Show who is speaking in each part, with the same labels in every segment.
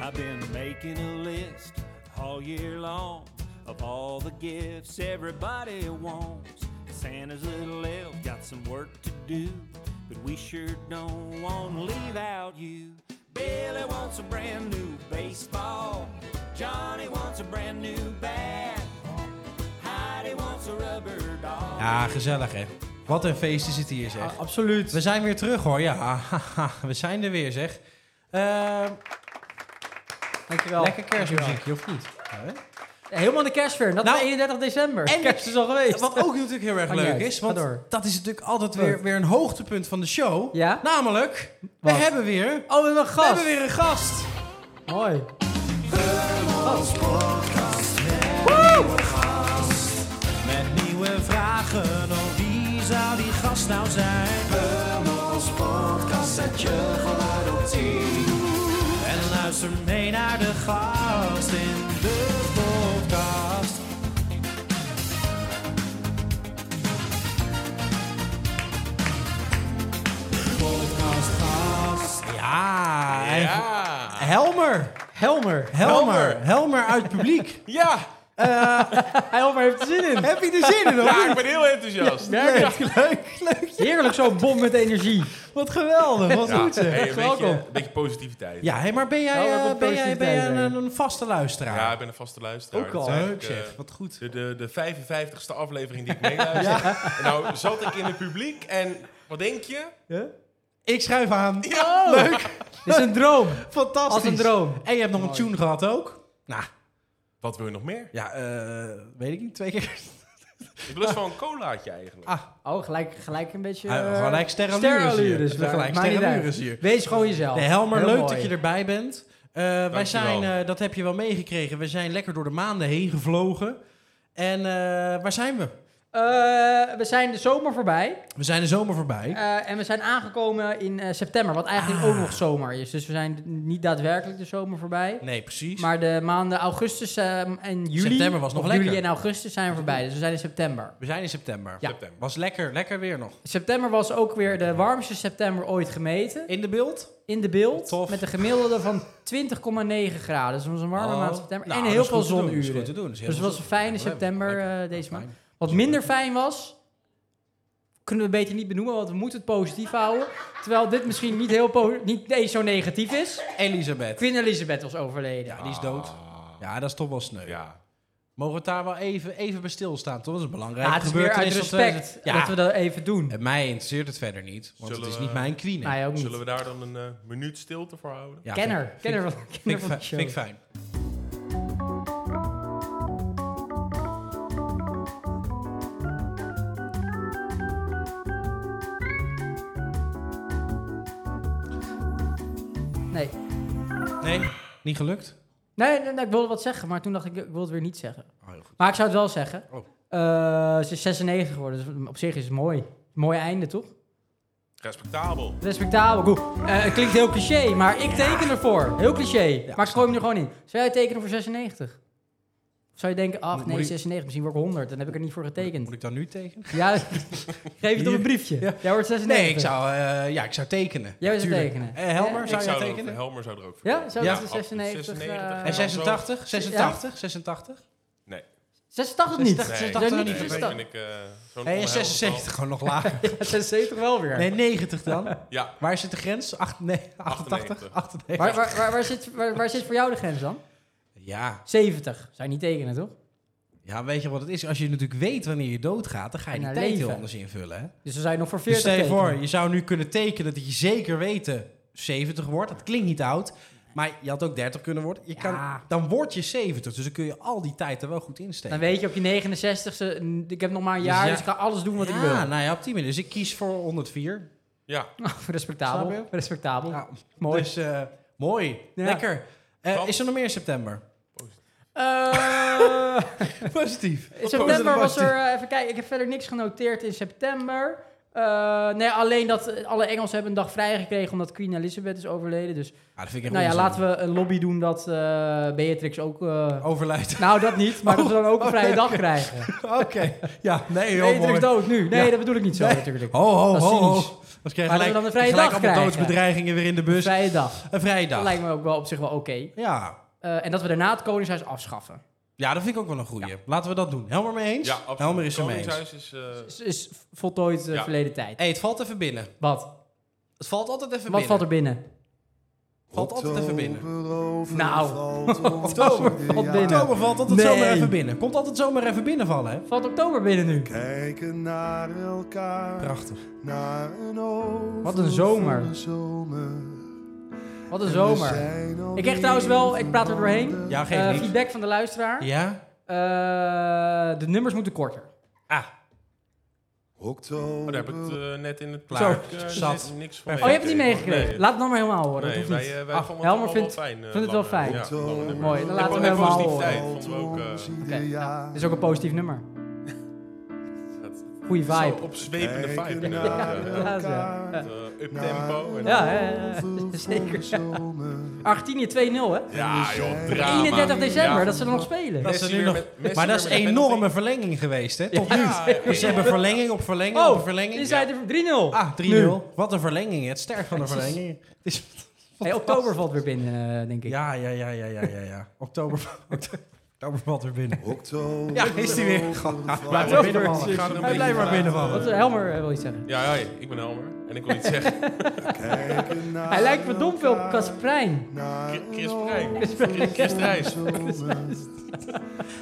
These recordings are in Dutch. Speaker 1: I've been making a list all year long of all the gifts everybody wants. Santa's little elf got some work to do, but we sure don't want to leave out you. Billy wants a brand new baseball. Johnny wants a brand new bat. Heidi wants a rubber doll.
Speaker 2: Ja, gezellig hè. Wat een feest is het hier zeg.
Speaker 3: Ah, absoluut.
Speaker 2: We zijn weer terug hoor, ja. We zijn er weer zeg. Eh,
Speaker 3: Dankjewel. Eh,
Speaker 2: lekker kerstmuziekje, of niet?
Speaker 3: Helemaal de kerstfeer. Dat
Speaker 2: Nou,
Speaker 3: nou, 31 december.
Speaker 2: en-
Speaker 3: kerst is al geweest.
Speaker 2: Wat ook natuurlijk heel erg
Speaker 3: Maakt niet
Speaker 2: leuk
Speaker 3: uit.
Speaker 2: is, want
Speaker 3: Ga door.
Speaker 2: dat is natuurlijk altijd weer, weer een hoogtepunt van de show.
Speaker 3: Ja?
Speaker 2: Namelijk, we
Speaker 3: Wat?
Speaker 2: hebben weer...
Speaker 3: Oh, we hebben een
Speaker 2: We
Speaker 3: gast.
Speaker 2: hebben weer een gast.
Speaker 3: Hoi.
Speaker 1: Met nieuwe vragen, oh wie zou die gast nou zijn? Hummels podcast, zet je geluid op 10. En luister mee naar de gast in de podcast. Podcast gast.
Speaker 2: Ja, en-
Speaker 4: Ja.
Speaker 2: Helmer.
Speaker 3: Helmer.
Speaker 2: Helmer.
Speaker 4: Helmer.
Speaker 2: Helmer uit publiek.
Speaker 4: Ja.
Speaker 3: Helmer heeft er zin in.
Speaker 2: Heb je er zin in hoor?
Speaker 4: ja, ik ben heel enthousiast. Ja,
Speaker 2: Leuk, leuk, leuk.
Speaker 3: Heerlijk zo'n bom met energie.
Speaker 2: Wat geweldig, wat goed zeg.
Speaker 4: hey, een, beetje,
Speaker 3: welkom.
Speaker 4: een beetje positiviteit.
Speaker 2: Ja, hey, maar ben jij,
Speaker 3: Nou,
Speaker 2: eh,
Speaker 3: wat
Speaker 2: ben jij, ben jij
Speaker 3: positiviteit
Speaker 2: een, een vaste luisteraar?
Speaker 4: Ja, ik ben een vaste luisteraar.
Speaker 3: Ook
Speaker 4: Dat
Speaker 3: al.
Speaker 4: is
Speaker 2: leuk
Speaker 4: eigenlijk,
Speaker 2: zeg,
Speaker 4: eh,
Speaker 2: wat goed.
Speaker 4: de, de, de 55ste aflevering die ik meeluister. Nou zat ik in het publiek en wat denk je?
Speaker 2: Ik schuif aan.
Speaker 4: Ja,
Speaker 2: Leuk,
Speaker 3: Dit is een droom.
Speaker 2: fantastisch.
Speaker 3: Oh. Als een droom.
Speaker 2: En je hebt nog een tune gehad ook? Nou,
Speaker 4: Wat wil je nog meer?
Speaker 2: ja, eh, weet ik niet, twee keer.
Speaker 4: Ik lust wel een colaatje eigenlijk.
Speaker 2: Ah,
Speaker 3: Oh, gelijk, gelijk een beetje...
Speaker 2: Ah,
Speaker 3: eh,
Speaker 2: gelijk sterrenlures hier.
Speaker 3: sterrenlures.
Speaker 2: Gelijk
Speaker 3: Maakt niet
Speaker 2: sterrenlures
Speaker 3: uit.
Speaker 2: hier.
Speaker 3: Wees gewoon jezelf.
Speaker 2: Nee, Helmer,
Speaker 3: Heel
Speaker 2: leuk
Speaker 3: mooi.
Speaker 2: dat je erbij bent. Eh, wij
Speaker 4: Dankjewel.
Speaker 2: zijn, eh, dat heb je wel meegekregen, we zijn lekker door de maanden heen gevlogen. En eh, waar zijn we?
Speaker 3: Eh, we zijn de zomer voorbij
Speaker 2: We zijn de zomer voorbij.
Speaker 3: eh, en we zijn aangekomen in eh, september, wat eigenlijk
Speaker 2: Ah.
Speaker 3: ook nog zomer is. Dus we zijn niet daadwerkelijk de zomer voorbij.
Speaker 2: nee, precies.
Speaker 3: Maar de maanden augustus ehm, en juli.
Speaker 2: September was nog
Speaker 3: of
Speaker 2: lekker.
Speaker 3: Juli en augustus zijn voorbij, dus we zijn in september.
Speaker 2: we zijn in september.
Speaker 3: Ja.
Speaker 4: September.
Speaker 2: Was lekker, lekker weer nog.
Speaker 3: September was ook weer de warmste september ooit gemeten.
Speaker 2: In de beeld?
Speaker 3: In de beeld.
Speaker 2: Tof.
Speaker 3: Met een gemiddelde van 20,9 graden. Dus het was een warme
Speaker 2: Oh.
Speaker 3: maand september.
Speaker 2: Nou,
Speaker 3: en
Speaker 2: dat
Speaker 3: heel
Speaker 2: is
Speaker 3: veel
Speaker 2: goed te doen, dat is
Speaker 3: zonuren.
Speaker 2: goed te doen, dat is heel
Speaker 3: dus het
Speaker 2: veel
Speaker 3: was een fijne
Speaker 2: Lekker,
Speaker 3: september
Speaker 2: lekker.
Speaker 3: eh, deze
Speaker 2: Fijn.
Speaker 3: maand. Wat minder fijn was, kunnen we beter niet benoemen, want we moeten het positief houden. Terwijl dit misschien niet, heel po- niet eens zo negatief is.
Speaker 2: Elisabeth.
Speaker 3: Queen Elizabeth was overleden.
Speaker 2: Ja, die is dood. Ja, dat is toch wel sneu.
Speaker 4: Ah. Ja.
Speaker 2: Mogen we het daar wel even, even bij stilstaan? Toch? Dat is belangrijk.
Speaker 3: Ja, Ah, het is meer uit respect
Speaker 2: Ja,
Speaker 3: dat we dat even doen.
Speaker 2: en mij interesseert het verder niet, want
Speaker 4: Zullen
Speaker 2: het is
Speaker 4: we-
Speaker 2: niet mijn queen.
Speaker 3: Mij ook niet.
Speaker 4: Zullen we daar dan een eh, minuut stilte voor houden?
Speaker 2: Ja,
Speaker 3: Nou kenner.
Speaker 2: vind ik-
Speaker 3: kenner van,
Speaker 2: Vind ik,
Speaker 3: kenner van de
Speaker 2: fi-
Speaker 3: show.
Speaker 2: vind ik fijn.
Speaker 3: Nee.
Speaker 2: Nee, niet gelukt?
Speaker 3: Nee, nee, nee, ik wilde wat zeggen, maar toen dacht ik, ik wil het weer niet zeggen.
Speaker 2: Oh, heel goed.
Speaker 3: Maar ik zou het wel zeggen.
Speaker 2: Oh.
Speaker 3: Eh, ze is 96 geworden, dus op zich is het mooi. Mooi einde, toch?
Speaker 4: Respectabel.
Speaker 3: Respectabel. Goed. Eh, het klinkt heel cliché, maar ik teken ervoor. Heel cliché. maar ik gooi hem er gewoon in. Zou jij tekenen voor 96? Of zou je denken, ach
Speaker 2: Moet
Speaker 3: nee,
Speaker 2: ik-
Speaker 3: 96, misschien word ik 100. Dan heb ik er niet voor getekend.
Speaker 2: Moet ik dan nu tekenen?
Speaker 3: Ja, geef het op een briefje. Jij wordt 96.
Speaker 2: Nee, ik zou, eh, ja, ik zou tekenen.
Speaker 3: Jij zou
Speaker 2: Tuurlijk.
Speaker 3: tekenen.
Speaker 2: Eh, Helmer, zou
Speaker 3: Ja.
Speaker 4: ik
Speaker 2: jij
Speaker 4: zou er ook-
Speaker 2: tekenen?
Speaker 4: Helmer zou er ook voor.
Speaker 3: Ja, zou
Speaker 2: Ja.
Speaker 3: dat de 96?
Speaker 4: 96,
Speaker 3: eh,
Speaker 2: En
Speaker 4: zou-
Speaker 2: 86? 86? 86?
Speaker 3: 86 niet.
Speaker 2: 86
Speaker 4: Nee,
Speaker 2: zou
Speaker 3: Daar
Speaker 2: ik
Speaker 3: niet
Speaker 4: nee,
Speaker 2: niet
Speaker 3: voor
Speaker 4: dat
Speaker 3: staan.
Speaker 4: vind ik eh, zo'n
Speaker 2: Nee, en
Speaker 4: onheilend
Speaker 2: 76 gewoon nog lager.
Speaker 3: Ja, 76 wel weer.
Speaker 2: Nee, 90 dan.
Speaker 4: getal. Ja,
Speaker 2: Waar zit de grens? Acht, nee, 88?
Speaker 4: 98.
Speaker 2: 98.
Speaker 3: Waar, waar, waar, waar zit, waar, waar zit voor jou de grens dan?
Speaker 2: Ja.
Speaker 3: 70. Zou je niet tekenen, toch?
Speaker 2: ja, weet je wat het is? Als je natuurlijk weet wanneer je doodgaat, dan ga je
Speaker 3: En
Speaker 2: die
Speaker 3: haar
Speaker 2: tijd
Speaker 3: leven.
Speaker 2: heel anders invullen. Hè?
Speaker 3: Dus dan zou je nog voor
Speaker 2: Dus
Speaker 3: 40
Speaker 2: stel je voor,
Speaker 3: tekenen.
Speaker 2: je zou nu kunnen tekenen dat je zeker weten 70 wordt. Dat klinkt niet oud. Maar je had ook 30 kunnen worden. Je
Speaker 3: Ja.
Speaker 2: kan, dan word je 70. Dus dan kun je al die tijd er wel goed in steken.
Speaker 3: Dan weet je op je 69ste, mm, ik heb nog maar een jaar,
Speaker 2: ja.
Speaker 3: dus ik ga alles doen wat ik
Speaker 2: Ja,
Speaker 3: wil.
Speaker 2: nou ja, op die manier. Dus ik kies voor 104.
Speaker 4: ja.
Speaker 3: respectabel.
Speaker 2: Snap
Speaker 3: Respectabel.
Speaker 2: Ja,
Speaker 3: Mooi.
Speaker 2: Dus eh, mooi.
Speaker 3: Ja.
Speaker 2: Lekker. Eh,
Speaker 4: Want-
Speaker 2: is er nog meer in september?
Speaker 3: Eh,
Speaker 2: Positief.
Speaker 3: eh, in september was er, eh, even kijken, ik heb verder niks genoteerd in september. Eh, nee, alleen dat alle Engelsen hebben een dag vrij gekregen omdat Queen Elizabeth is overleden. Dus
Speaker 2: Ah, dat vind ik echt
Speaker 3: nou ja, laten we een lobby doen dat eh, Beatrix ook... eh,
Speaker 2: Overlijden.
Speaker 3: nou, dat niet, maar dat we dan ook een
Speaker 2: Oh,
Speaker 3: vrije
Speaker 2: nee.
Speaker 3: dag krijgen.
Speaker 2: Oké. Ja, nee, heel
Speaker 3: Beatrix
Speaker 2: mooi.
Speaker 3: dood nu. Nee,
Speaker 2: Ja.
Speaker 3: dat bedoel ik niet zo
Speaker 2: Nee.
Speaker 3: natuurlijk.
Speaker 2: Ho, ho,
Speaker 3: Dat is
Speaker 2: ho, ho.
Speaker 3: cynisch.
Speaker 2: Als krijg gelijk,
Speaker 3: Maar dat we dan een vrije
Speaker 2: gelijk
Speaker 3: dag
Speaker 2: allemaal
Speaker 3: krijgen.
Speaker 2: doodsbedreigingen weer in de bus.
Speaker 3: Vrije dag.
Speaker 2: Een vrije
Speaker 3: Dat
Speaker 2: dag.
Speaker 3: lijkt me ook wel op zich wel oké.
Speaker 2: Ja.
Speaker 3: Eh, en dat we daarna het Koningshuis afschaffen.
Speaker 2: ja, dat vind ik ook wel een goeie. Laten we dat doen. Helmer mee eens?
Speaker 4: Ja, absoluut.
Speaker 2: Helmer is er mee eens.
Speaker 4: Koningshuis is... eh,
Speaker 3: Is, Dus is voltooid eh,
Speaker 4: Ja.
Speaker 3: verleden tijd.
Speaker 2: hey, het valt even binnen.
Speaker 3: Wat?
Speaker 2: Het valt altijd even
Speaker 3: Wat
Speaker 2: binnen.
Speaker 3: valt er binnen?
Speaker 2: Valt altijd even binnen.
Speaker 3: Nou.
Speaker 2: Oktober
Speaker 3: valt
Speaker 2: Ja.
Speaker 3: binnen.
Speaker 2: Oktober valt altijd
Speaker 3: Nee.
Speaker 2: zomaar even binnen. Komt altijd zomaar even binnenvallen, hè?
Speaker 3: Valt oktober binnen nu?
Speaker 5: Kijken naar elkaar.
Speaker 2: Prachtig.
Speaker 5: Naar een overvloed
Speaker 3: Wat een zomer.
Speaker 5: van zomer.
Speaker 3: Wat een
Speaker 5: We
Speaker 3: zomer.
Speaker 5: zijn alweer
Speaker 3: Ik kreeg trouwens wel, ik praat er doorheen.
Speaker 2: Ja, geeft
Speaker 3: eh,
Speaker 2: niks.
Speaker 3: feedback van de luisteraar.
Speaker 2: Ja?
Speaker 3: Eh, de nummers moeten korter. Oh,
Speaker 2: Ah,
Speaker 5: Oktober.
Speaker 4: Oh, daar heb ik het eh, net in het
Speaker 2: Klaar.
Speaker 4: Ik, eh,
Speaker 2: Zat.
Speaker 4: net Niks van
Speaker 2: Oh,
Speaker 3: Oh, je hebt het niet meegekregen.
Speaker 4: Nee.
Speaker 3: Laat het dan maar helemaal horen.
Speaker 4: Nee,
Speaker 3: dat hoeft
Speaker 4: wij,
Speaker 3: niet.
Speaker 4: eh, wij
Speaker 3: Ah,
Speaker 4: vonden het
Speaker 3: Helmer
Speaker 4: allemaal
Speaker 3: vindt,
Speaker 4: wel fijn. eh,
Speaker 3: vindt het wel fijn.
Speaker 4: Ja, lange nummers.
Speaker 3: Mooi, dan laten we
Speaker 4: en
Speaker 3: hem helemaal
Speaker 4: positiviteit
Speaker 3: horen.
Speaker 4: vonden we dus ook... eh,
Speaker 3: Oké.
Speaker 5: Ja.
Speaker 3: Dit is ook een positief nummer.
Speaker 4: dat-
Speaker 3: Goeie vibe.
Speaker 4: Zo, opzwepende vibe.
Speaker 5: Kijken
Speaker 4: Ja,
Speaker 5: naar
Speaker 3: ja.
Speaker 5: elkaar.
Speaker 4: Uptempo. en-
Speaker 3: Ja, ja,
Speaker 5: Overvloed van
Speaker 3: zeker.
Speaker 5: zomer.
Speaker 3: Argentinië 2-0, hè?
Speaker 4: Ja,
Speaker 2: eh.
Speaker 4: joh, drama.
Speaker 3: 31 december,
Speaker 4: Ja.
Speaker 3: dat ze dan nog spelen.
Speaker 2: dat
Speaker 4: Messi
Speaker 2: is er nu
Speaker 4: weer
Speaker 2: nog...
Speaker 4: met- Messi
Speaker 2: maar dat is
Speaker 4: weer met een
Speaker 2: enorme
Speaker 4: penalty.
Speaker 2: verlenging geweest, hè? Tot nu.
Speaker 4: Ja, ja,
Speaker 2: Dus ze
Speaker 4: ja.
Speaker 2: hebben verlenging op verlenging op
Speaker 3: Oh,
Speaker 2: verlenging.
Speaker 3: die zijn er 3-0.
Speaker 2: Ah, 3-0.
Speaker 3: Nu.
Speaker 2: Wat een verlenging. hè. Het sterk van de
Speaker 3: Jezus.
Speaker 2: verlenging. Het is
Speaker 3: Hey, oktober valt weer binnen, eh, denk ik.
Speaker 2: Ja, ja, ja, ja, ja, ja. ja. Oktober, oktober valt weer binnen.
Speaker 5: Oktober.
Speaker 2: Ja, is die weer.
Speaker 5: overvloed
Speaker 2: Blijf maar
Speaker 4: maar binnenvallen.
Speaker 2: binnenvallen.
Speaker 4: Ga er een
Speaker 2: Hij blijft
Speaker 4: beetje
Speaker 2: maar
Speaker 3: Wat,
Speaker 2: binnenvallen.
Speaker 3: eh, Helmer eh, wil iets zeggen.
Speaker 4: Ja, hoi, ik ben Helmer. En ik wil iets zeggen.
Speaker 5: Kijken naar
Speaker 3: Hij lijkt verdomd veel op
Speaker 5: elkaar.
Speaker 3: Kasprijn. Eh,
Speaker 5: Naar
Speaker 4: Chris-
Speaker 5: een
Speaker 4: Chris Prijn.
Speaker 5: overvloed
Speaker 4: Chris Rijs.
Speaker 5: van zomer.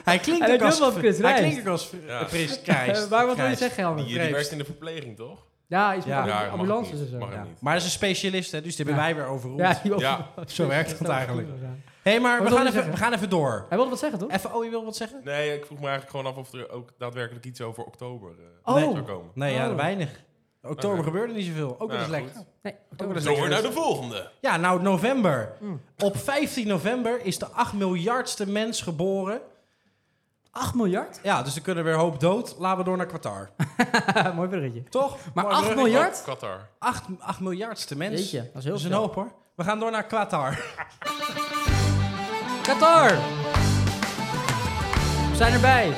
Speaker 2: Hij klinkt
Speaker 3: Hij
Speaker 2: ook
Speaker 3: doet
Speaker 2: als...
Speaker 3: wel Chris
Speaker 2: Hij
Speaker 3: Rijs.
Speaker 2: klinkt ook als
Speaker 4: Ja.
Speaker 2: Chris Krijs.
Speaker 3: Eh, maar wat wil je
Speaker 2: Krijs.
Speaker 3: zeggen, Helmer?
Speaker 4: Die, die werkt in de verpleging, toch?
Speaker 3: Ja, iets met
Speaker 2: Ja.
Speaker 3: ambu-
Speaker 4: mag het
Speaker 3: ambulances
Speaker 4: niet.
Speaker 3: en zo.
Speaker 4: Mag het
Speaker 2: Ja.
Speaker 4: niet.
Speaker 2: Maar hij is een specialist, hè, dus die hebben
Speaker 3: Ja.
Speaker 2: wij weer overroeld.
Speaker 3: Ja, die
Speaker 4: Ja.
Speaker 2: Zo werkt het eigenlijk.
Speaker 3: Hé,
Speaker 2: Hé, hey, maar
Speaker 3: Wat
Speaker 2: we
Speaker 3: wil
Speaker 2: gaan,
Speaker 3: je
Speaker 2: even,
Speaker 3: zeggen?
Speaker 2: we gaan even door.
Speaker 3: Hij wilde wat zeggen, toch?
Speaker 2: Even, oh, je wil wat zeggen?
Speaker 4: Nee, ik vroeg me eigenlijk gewoon af of er ook daadwerkelijk iets over oktober eh,
Speaker 3: Oh.
Speaker 4: zou komen.
Speaker 2: Nee, ja,
Speaker 3: Oh.
Speaker 2: weinig. Oktober
Speaker 4: Oké.
Speaker 2: gebeurde niet zoveel. Ook wel eens
Speaker 4: Nou,
Speaker 2: lekker.
Speaker 4: goed.
Speaker 3: Nee,
Speaker 2: wel eens
Speaker 4: Door
Speaker 2: lekker.
Speaker 4: naar de volgende.
Speaker 2: Ja, nou, november.
Speaker 3: Mm.
Speaker 2: Op 15 november is de 8 miljardste mens geboren.
Speaker 3: 8 miljard?
Speaker 2: Ja, dus er kunnen weer een hoop dood. Laten we door naar Qatar.
Speaker 3: Mooi bruggetje.
Speaker 2: Toch?
Speaker 3: Maar
Speaker 2: Mooi
Speaker 3: 8
Speaker 2: brug.
Speaker 3: miljard?
Speaker 4: Qatar.
Speaker 2: 8, 8 miljardste mens.
Speaker 3: Jeetje, dat is heel
Speaker 2: Dat is een
Speaker 3: veel.
Speaker 2: hoop hoor. We gaan door naar Qatar.
Speaker 3: Qatar! We zijn erbij.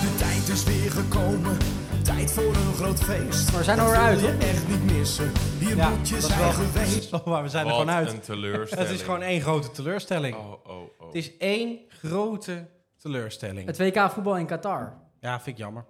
Speaker 6: De tijd is weer gekomen, tijd voor een groot feest.
Speaker 3: Maar we zijn er
Speaker 6: Dat
Speaker 3: weer uit,
Speaker 6: wil je
Speaker 3: hoor.
Speaker 6: echt niet missen, hier
Speaker 2: Ja,
Speaker 6: moet je
Speaker 2: dat is
Speaker 6: zijn
Speaker 2: wel-
Speaker 6: geweest.
Speaker 2: Maar we zijn er
Speaker 4: Wat
Speaker 2: gewoon uit.
Speaker 4: een teleurstelling.
Speaker 2: Het is gewoon één grote teleurstelling.
Speaker 4: Oh, oh, oh.
Speaker 2: Het is één grote teleurstelling.
Speaker 3: Het WK voetbal in Qatar.
Speaker 2: Ja, vind ik jammer.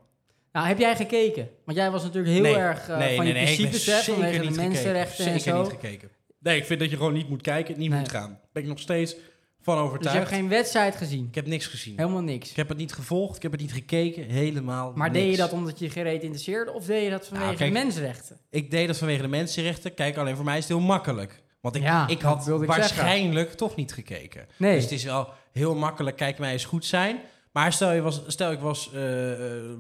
Speaker 3: Nou, heb jij gekeken? Want jij was natuurlijk heel
Speaker 2: nee.
Speaker 3: erg eh,
Speaker 2: nee,
Speaker 3: van
Speaker 2: nee,
Speaker 3: je
Speaker 2: nee, ik ben
Speaker 3: principes, hè?
Speaker 2: zeker
Speaker 3: Vanwege de
Speaker 2: niet gekeken.
Speaker 3: mensenrechten en
Speaker 2: zeker
Speaker 3: zo. Dus
Speaker 2: niet gekeken. Nee, ik vind dat je gewoon niet moet kijken, niet
Speaker 3: Nee.
Speaker 2: moet gaan. Daar ben ik nog steeds van
Speaker 3: dus
Speaker 2: overtuigd.
Speaker 3: je hebt geen wedstrijd gezien?
Speaker 2: Ik heb niks gezien.
Speaker 3: Helemaal niks.
Speaker 2: Ik heb het niet gevolgd, ik heb het niet gekeken, helemaal
Speaker 3: Maar
Speaker 2: niks.
Speaker 3: deed je dat omdat je je gereed interesseerde? Of deed je dat vanwege
Speaker 2: Nou, kijk,
Speaker 3: de mensenrechten?
Speaker 2: Ik deed dat vanwege de mensenrechten. Kijk, alleen voor mij is het heel makkelijk. Want ik,
Speaker 3: Ja,
Speaker 2: ik
Speaker 3: dat
Speaker 2: had
Speaker 3: wilde ik
Speaker 2: waarschijnlijk toch niet gekeken.
Speaker 3: Nee.
Speaker 2: Dus het is wel heel makkelijk, kijk mij eens goed zijn. Maar stel, je was, stel ik was... eh, eh,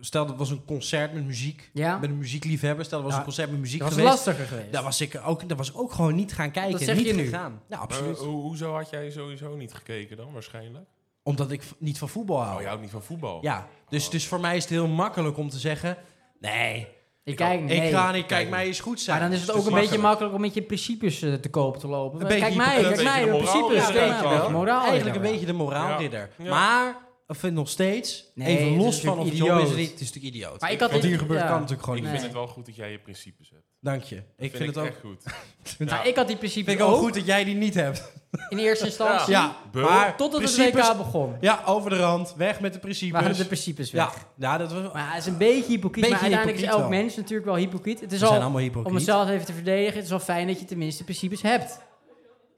Speaker 2: stel, dat was een concert met muziek.
Speaker 3: Ja.
Speaker 2: Met een muziekliefhebber. Stel, dat was
Speaker 3: Ja.
Speaker 2: een concert met muziek
Speaker 3: Dat was
Speaker 2: geweest.
Speaker 3: lastiger geweest.
Speaker 2: Daar was, ik ook, daar was ik ook gewoon niet gaan kijken.
Speaker 3: Dat zeg
Speaker 2: niet
Speaker 3: je nu.
Speaker 2: gegaan. Ja,
Speaker 4: Maar,
Speaker 2: absoluut.
Speaker 4: eh, ho- hoezo had jij sowieso niet gekeken dan, waarschijnlijk?
Speaker 2: Omdat ik v- niet van voetbal hou.
Speaker 4: Oh, je houdt niet van voetbal.
Speaker 2: Ja, dus, dus voor mij is het heel makkelijk om te zeggen... Nee,
Speaker 3: ik kijk, nee.
Speaker 2: ik ga niet, kijk mij eens goed zijn.
Speaker 3: Maar dan is het
Speaker 2: Dus
Speaker 3: ook een
Speaker 2: dat
Speaker 3: beetje makkelijk om met je principes eh, te koop te lopen.
Speaker 2: Een
Speaker 3: kijk
Speaker 2: beetje
Speaker 3: mij,
Speaker 2: hypocriet,
Speaker 3: kijk mij,
Speaker 4: een
Speaker 3: mijn
Speaker 4: beetje de moraal,
Speaker 3: principes.
Speaker 4: ja,
Speaker 3: kijk
Speaker 4: ja,
Speaker 3: mij,
Speaker 4: ja.
Speaker 3: een beetje moraal.
Speaker 2: Eigenlijk een
Speaker 3: ja.
Speaker 2: beetje de moraalridder.
Speaker 4: Ja. Ja.
Speaker 2: Maar ik vind nog steeds,
Speaker 3: Nee, het
Speaker 2: even
Speaker 3: is
Speaker 2: los van of het
Speaker 3: natuurlijk
Speaker 2: job is,
Speaker 3: idioot.
Speaker 2: het is het natuurlijk idioot.
Speaker 3: Maar ik had
Speaker 2: Wat
Speaker 3: dit-
Speaker 2: hier gebeurt
Speaker 3: ja.
Speaker 2: kan natuurlijk gewoon
Speaker 4: Ik
Speaker 2: niet.
Speaker 3: Nee.
Speaker 4: vind het wel goed dat jij je principes hebt.
Speaker 2: Dank je. Ik vind, het ook,
Speaker 4: echt goed.
Speaker 2: vind
Speaker 3: Nou, ik had die principes
Speaker 2: ik
Speaker 3: ook
Speaker 2: ook goed dat jij die niet hebt.
Speaker 3: in eerste instantie.
Speaker 2: Ja,
Speaker 4: Bul.
Speaker 2: maar
Speaker 3: Totdat
Speaker 2: principes-
Speaker 3: het WK begon.
Speaker 2: Ja, over de rand, weg met de
Speaker 3: Waren
Speaker 2: principes.
Speaker 3: de principes weg.
Speaker 2: ja, ja, dat was...
Speaker 3: Maar het is een beetje hypocriet.
Speaker 2: Beetje
Speaker 3: maar uiteindelijk is
Speaker 2: hypocriet
Speaker 3: elk
Speaker 2: wel.
Speaker 3: mens natuurlijk wel hypocriet. Het
Speaker 2: We
Speaker 3: is
Speaker 2: zijn
Speaker 3: al,
Speaker 2: allemaal
Speaker 3: om
Speaker 2: hypocriet.
Speaker 3: mezelf even te verdedigen, het is wel fijn dat je tenminste principes hebt.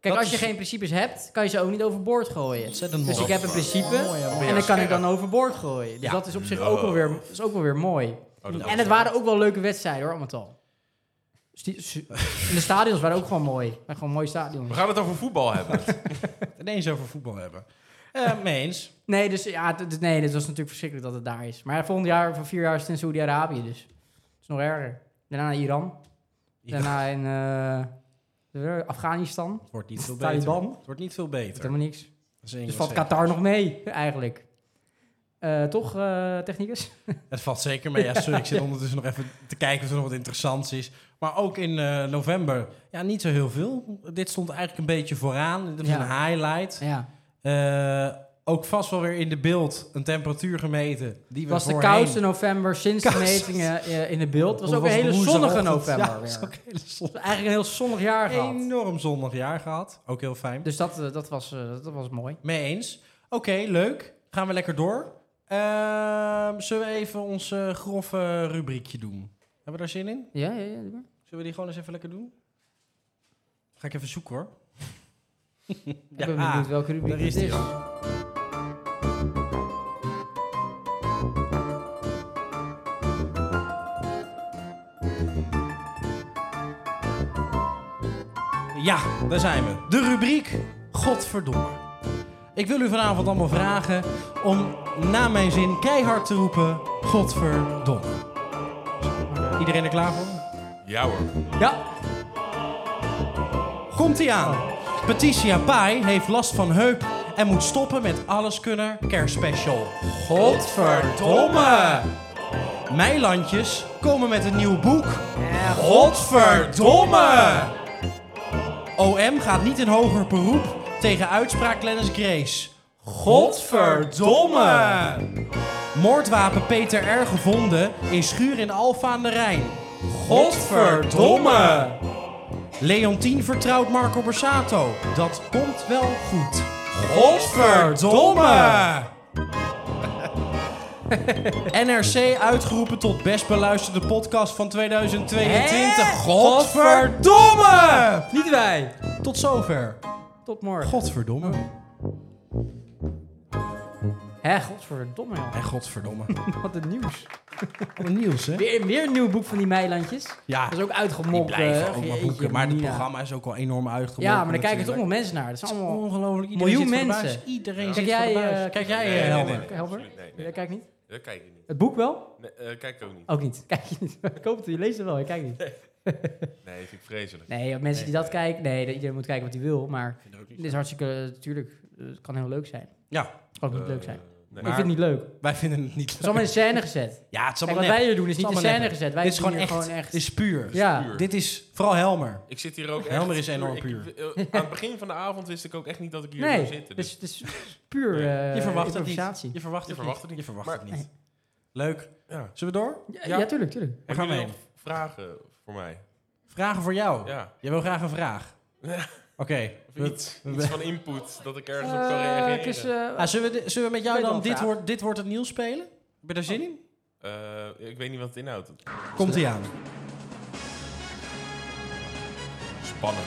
Speaker 3: Kijk,
Speaker 2: Dat
Speaker 3: als je
Speaker 2: is-
Speaker 3: geen principes hebt, kan je ze ook niet overboord gooien.
Speaker 2: Ontzettend
Speaker 3: Dus
Speaker 2: mooi.
Speaker 3: ik heb een principe en dat kan ik dan overboord gooien. Dus
Speaker 2: Ja.
Speaker 3: dat is op zich ook wel weer, is ook wel weer mooi.
Speaker 4: Oh, dat
Speaker 3: En het waren ook wel leuke wedstrijden hoor, om het al. Dus Stie- su- En de stadions waren ook gewoon mooi. Waren gewoon mooie
Speaker 4: We
Speaker 3: stadions.
Speaker 4: gaan het over voetbal hebben.
Speaker 2: het ineens over voetbal hebben. Eh mee eens.
Speaker 3: Nee, dus ja, d- d- nee, dat was natuurlijk verschrikkelijk dat het daar is. Maar ja, volgend jaar, van vier jaar is het in Saudi-Arabië, dus het is nog erger. Daarna naar Iran. Daarna in eh, eh, Afghanistan.
Speaker 2: Het wordt niet veel beter.
Speaker 3: Taliban.
Speaker 2: Het wordt niet veel
Speaker 3: Dat
Speaker 2: beter.
Speaker 3: helemaal niks.
Speaker 2: Dat is één
Speaker 3: Dus
Speaker 2: wat
Speaker 3: valt
Speaker 2: zeker.
Speaker 3: Qatar nog mee, eigenlijk. Eh, toch, eh, technicus?
Speaker 2: Het valt zeker mee. Ja, sorry, ik zit ondertussen nog even te kijken of er nog wat interessants is. Maar ook in eh, november, ja, niet zo heel veel. Dit stond eigenlijk een beetje vooraan. Dit was
Speaker 3: Ja.
Speaker 2: een highlight.
Speaker 3: Ja.
Speaker 2: Eh, ook vast wel weer in de beeld een temperatuur gemeten. Die
Speaker 3: Het
Speaker 2: we
Speaker 3: was de
Speaker 2: voorheen-
Speaker 3: koudste november sinds de
Speaker 2: Koudste.
Speaker 3: metingen eh, in het beeld. Het was
Speaker 2: Hoe
Speaker 3: ook een hele
Speaker 2: woensdagochtend?
Speaker 3: zonnige november.
Speaker 2: Ja,
Speaker 3: weer.
Speaker 2: het was ook
Speaker 3: Het
Speaker 2: een hele zonnig.
Speaker 3: was Eigenlijk een heel zonnig jaar gehad.
Speaker 2: Enorm zonnig jaar gehad. Ook heel fijn.
Speaker 3: Dus dat, eh, dat, was, eh, dat was mooi.
Speaker 2: Mee eens. Oké, leuk. Gaan we lekker door. Ehm, zullen we even ons eh, grove rubriekje doen? Hebben we daar zin in?
Speaker 3: Ja, ja, ja. doe maar.
Speaker 2: Zullen we die gewoon eens even lekker doen? Ga ik even zoeken hoor.
Speaker 3: Ik ben benieuwd welke rubriek
Speaker 2: daar is
Speaker 3: het
Speaker 2: die
Speaker 3: is.
Speaker 2: Ja, daar zijn we. De rubriek Godverdomme. Ik wil u vanavond allemaal vragen om na mijn zin keihard te roepen Godverdomme. Iedereen er klaar voor?
Speaker 4: Ja hoor.
Speaker 3: Ja,
Speaker 2: Komt ie aan. Patricia Pai heeft last van heup en moet stoppen met Alles Kunnen kerstspecial. Godverdomme! Meilandjes komen met een nieuw boek. Godverdomme! OM gaat niet in hoger beroep tegen uitspraak Lennis Grace. Godverdomme! Moordwapen Peter R. gevonden in schuur in Alfa aan de Rijn. Godverdomme! Leontien vertrouwt Marco Borsato. Dat komt wel goed. Godverdomme! NRC uitgeroepen tot best beluisterde podcast van 2022.
Speaker 3: Hè?
Speaker 2: Godverdomme!
Speaker 3: niet wij.
Speaker 2: Tot zover.
Speaker 3: Tot morgen.
Speaker 2: Godverdomme.
Speaker 3: Hè, godverdomme joh.
Speaker 2: En godverdomme.
Speaker 3: Wat het nieuws.
Speaker 2: Wat een nieuws, hè?
Speaker 3: Weer, weer een nieuw boek van die Meilandjes.
Speaker 2: Ja,
Speaker 3: Dat is ook
Speaker 2: die
Speaker 3: uitgemokt. eh,
Speaker 2: blijven ook maar
Speaker 3: jeetje,
Speaker 2: boeken. Maar het
Speaker 3: Mina.
Speaker 2: programma is ook al enorm uitgemokt.
Speaker 3: Ja, maar daar kijken toch nog
Speaker 2: natuurlijk.
Speaker 3: mensen naar. Dat is allemaal...
Speaker 2: Ongelooflijk. Iedereen
Speaker 3: Miljoen
Speaker 2: zit voor de
Speaker 3: mensen.
Speaker 2: buis. Iedereen
Speaker 3: Kijk
Speaker 2: zit voor
Speaker 3: jij,
Speaker 2: de buis.
Speaker 3: eh,
Speaker 2: Kijk jij,
Speaker 4: Nee,
Speaker 2: eh,
Speaker 4: nee,
Speaker 2: Helmer?
Speaker 4: nee, nee.
Speaker 3: Helper?
Speaker 4: Absoluut, nee, nee.
Speaker 3: Jij kijkt niet?
Speaker 4: Dat kijk ik niet.
Speaker 3: Het boek wel?
Speaker 4: Nee, eh, kijk ik ook niet.
Speaker 3: Ook niet. Kijk je niet. Ik hoop dat je leest het wel. Ik kijk niet.
Speaker 2: Oh.
Speaker 4: Nee, vind ik vreselijk.
Speaker 3: Nee, mensen die dat kijken... Nee, dat iedereen moet kijken wat hij wil. Maar dit is hartstikke... eh, Tuurlijk, eh, het kan heel leuk zijn.
Speaker 2: Ja,
Speaker 3: Het kan ook niet
Speaker 4: Eh,
Speaker 3: leuk zijn.
Speaker 4: nee.
Speaker 3: Ik vind het niet leuk. Het
Speaker 2: wij vinden het niet
Speaker 3: is allemaal in scène gezet.
Speaker 2: Ja, het is
Speaker 3: eh, Kijk,
Speaker 2: allemaal
Speaker 3: wat
Speaker 2: nep.
Speaker 3: wij hier doen is niet in
Speaker 2: allemaal
Speaker 3: scène
Speaker 2: nep.
Speaker 3: gezet. Wij
Speaker 2: Dit is
Speaker 3: doen
Speaker 2: gewoon echt,
Speaker 3: hier gewoon echt...
Speaker 2: Dit is puur.
Speaker 3: ja,
Speaker 4: puur.
Speaker 2: Dit is vooral Helmer.
Speaker 4: Ik zit hier ook echt...
Speaker 2: Helmer is enorm
Speaker 4: ik-
Speaker 2: puur.
Speaker 4: eh, aan het begin van de avond wist ik ook echt niet dat ik hier
Speaker 3: nee.
Speaker 4: zou
Speaker 3: Het
Speaker 4: zitten.
Speaker 3: is,
Speaker 4: Dus
Speaker 3: het is puur eh
Speaker 2: Je verwacht het niet.
Speaker 3: improvisatie.
Speaker 2: Je verwacht,
Speaker 4: Je
Speaker 2: het,
Speaker 4: verwacht
Speaker 2: niet.
Speaker 4: het
Speaker 2: Je
Speaker 4: niet.
Speaker 2: verwacht
Speaker 4: Maar-
Speaker 2: het niet. Leuk.
Speaker 4: ja.
Speaker 2: Zullen we door?
Speaker 3: Ja, ja, tuurlijk, tuurlijk.
Speaker 2: We gaan
Speaker 4: Hebben
Speaker 2: mee.
Speaker 4: jullie nog vragen voor mij?
Speaker 2: Vragen voor jou.
Speaker 4: Ja.
Speaker 2: Jij wil graag een vraag.
Speaker 4: Ja.
Speaker 2: Oké.
Speaker 4: Of
Speaker 2: we-
Speaker 4: Iets,
Speaker 2: we-
Speaker 4: iets van input, dat ik ergens op kan
Speaker 3: Eh,
Speaker 4: reageren.
Speaker 3: ik is, eh,
Speaker 2: Ah, zullen, we, di- zullen we met jou
Speaker 3: Ik weet wel
Speaker 2: dan
Speaker 3: een
Speaker 2: dit
Speaker 3: vraag.
Speaker 2: wordt, dit wordt het nieuws spelen? Heb je daar zin in?
Speaker 4: Eh, ik weet niet wat het inhoudt.
Speaker 2: Oh. Komt ie aan.
Speaker 4: Spannend.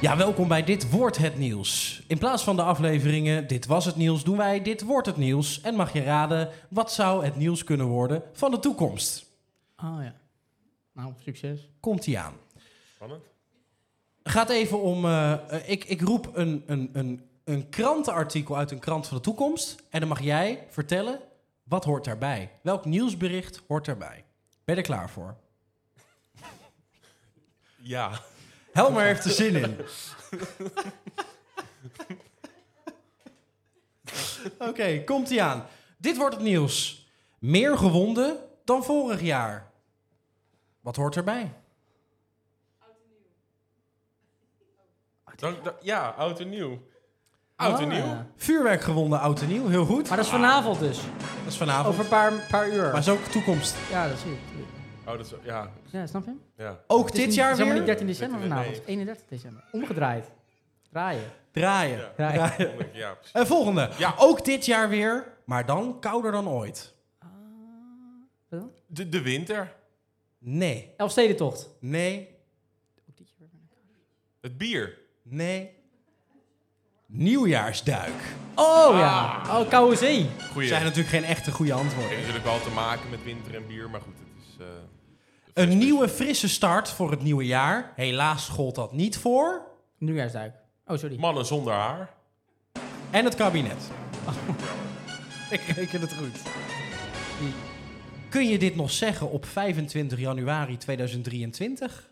Speaker 2: Ja, welkom bij Dit Wordt Het Nieuws. In plaats van de afleveringen Dit Was Het Nieuws doen wij Dit Wordt Het Nieuws. En mag je raden, wat zou het nieuws kunnen worden van de toekomst?
Speaker 3: Oh ja. Nou, succes.
Speaker 2: Komt ie aan.
Speaker 4: Spannend.
Speaker 2: gaat even om. eh, eh, ik, ik roep een, een, een, een krantenartikel uit een krant van de toekomst. En dan mag jij vertellen wat hoort daarbij. Welk nieuwsbericht hoort daarbij? Ben je er klaar voor?
Speaker 4: Ja.
Speaker 2: Helmer heeft er zin in. Oké, komt ie aan. Dit wordt het nieuws. Meer gewonden dan vorig jaar. Wat hoort erbij?
Speaker 4: Dank, dank- ja, oud en nieuw. Oud en
Speaker 3: Ah.
Speaker 4: nieuw?
Speaker 2: Vuurwerkgewonden oud en nieuw, heel goed.
Speaker 3: Maar dat is vanavond dus.
Speaker 2: Dat is vanavond.
Speaker 3: Over een paar, paar uur.
Speaker 2: Maar is ook toekomst.
Speaker 3: Ja, dat zie ik.
Speaker 4: Oh, dat is, ja,
Speaker 3: Ja, snap je? Het
Speaker 4: ja.
Speaker 2: Ook
Speaker 3: is
Speaker 2: dit
Speaker 3: niet-
Speaker 2: jaar
Speaker 3: Het is helemaal
Speaker 2: weer?
Speaker 3: niet 13 december
Speaker 4: Nee.
Speaker 3: vanavond. Het is 31 december. Omgedraaid. Draaien.
Speaker 2: Draaien.
Speaker 4: Ja.
Speaker 3: Draaien.
Speaker 2: Draaien.
Speaker 4: Ja, precies.
Speaker 2: En volgende.
Speaker 4: Ja.
Speaker 2: Ook dit jaar weer, maar dan kouder dan ooit.
Speaker 4: De, de winter.
Speaker 2: Nee,
Speaker 3: Elfstedentocht.
Speaker 2: nee,
Speaker 4: Het bier.
Speaker 2: nee. Nieuwjaarsduik.
Speaker 3: Oh ja. Oh, koude zee.
Speaker 4: Goeie.
Speaker 2: Zijn natuurlijk geen echte goede
Speaker 4: Heeft
Speaker 2: antwoorden.
Speaker 4: natuurlijk wel te maken met winter en bier, maar goed, het is... eh,
Speaker 2: Een nieuwe frisse start voor het nieuwe jaar. Helaas gold dat niet voor.
Speaker 3: Nieuwjaarsduik. Oh, sorry.
Speaker 4: Mannen zonder haar.
Speaker 2: En het kabinet. Ik reken het goed. Kun je dit nog zeggen op 25 januari 2023?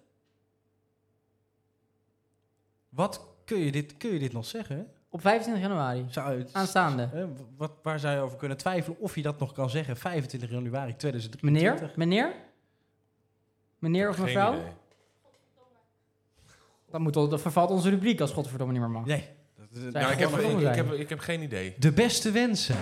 Speaker 2: Wat kun je dit, kun je dit nog zeggen?
Speaker 3: Op 25 januari.
Speaker 2: Zou het-
Speaker 3: Aanstaande.
Speaker 2: Hè, wat, waar zou je over kunnen twijfelen of je dat nog kan zeggen 25 januari 2023?
Speaker 3: Meneer? Meneer? Meneer of mevrouw? Dat, moet, dat vervalt onze rubriek als godverdomme niet meer mag.
Speaker 2: Nee.
Speaker 4: Nou, ik, heb,
Speaker 3: godverdomme
Speaker 4: ik, ik
Speaker 3: zijn.
Speaker 4: heb, ik heb geen idee.
Speaker 2: De beste wensen.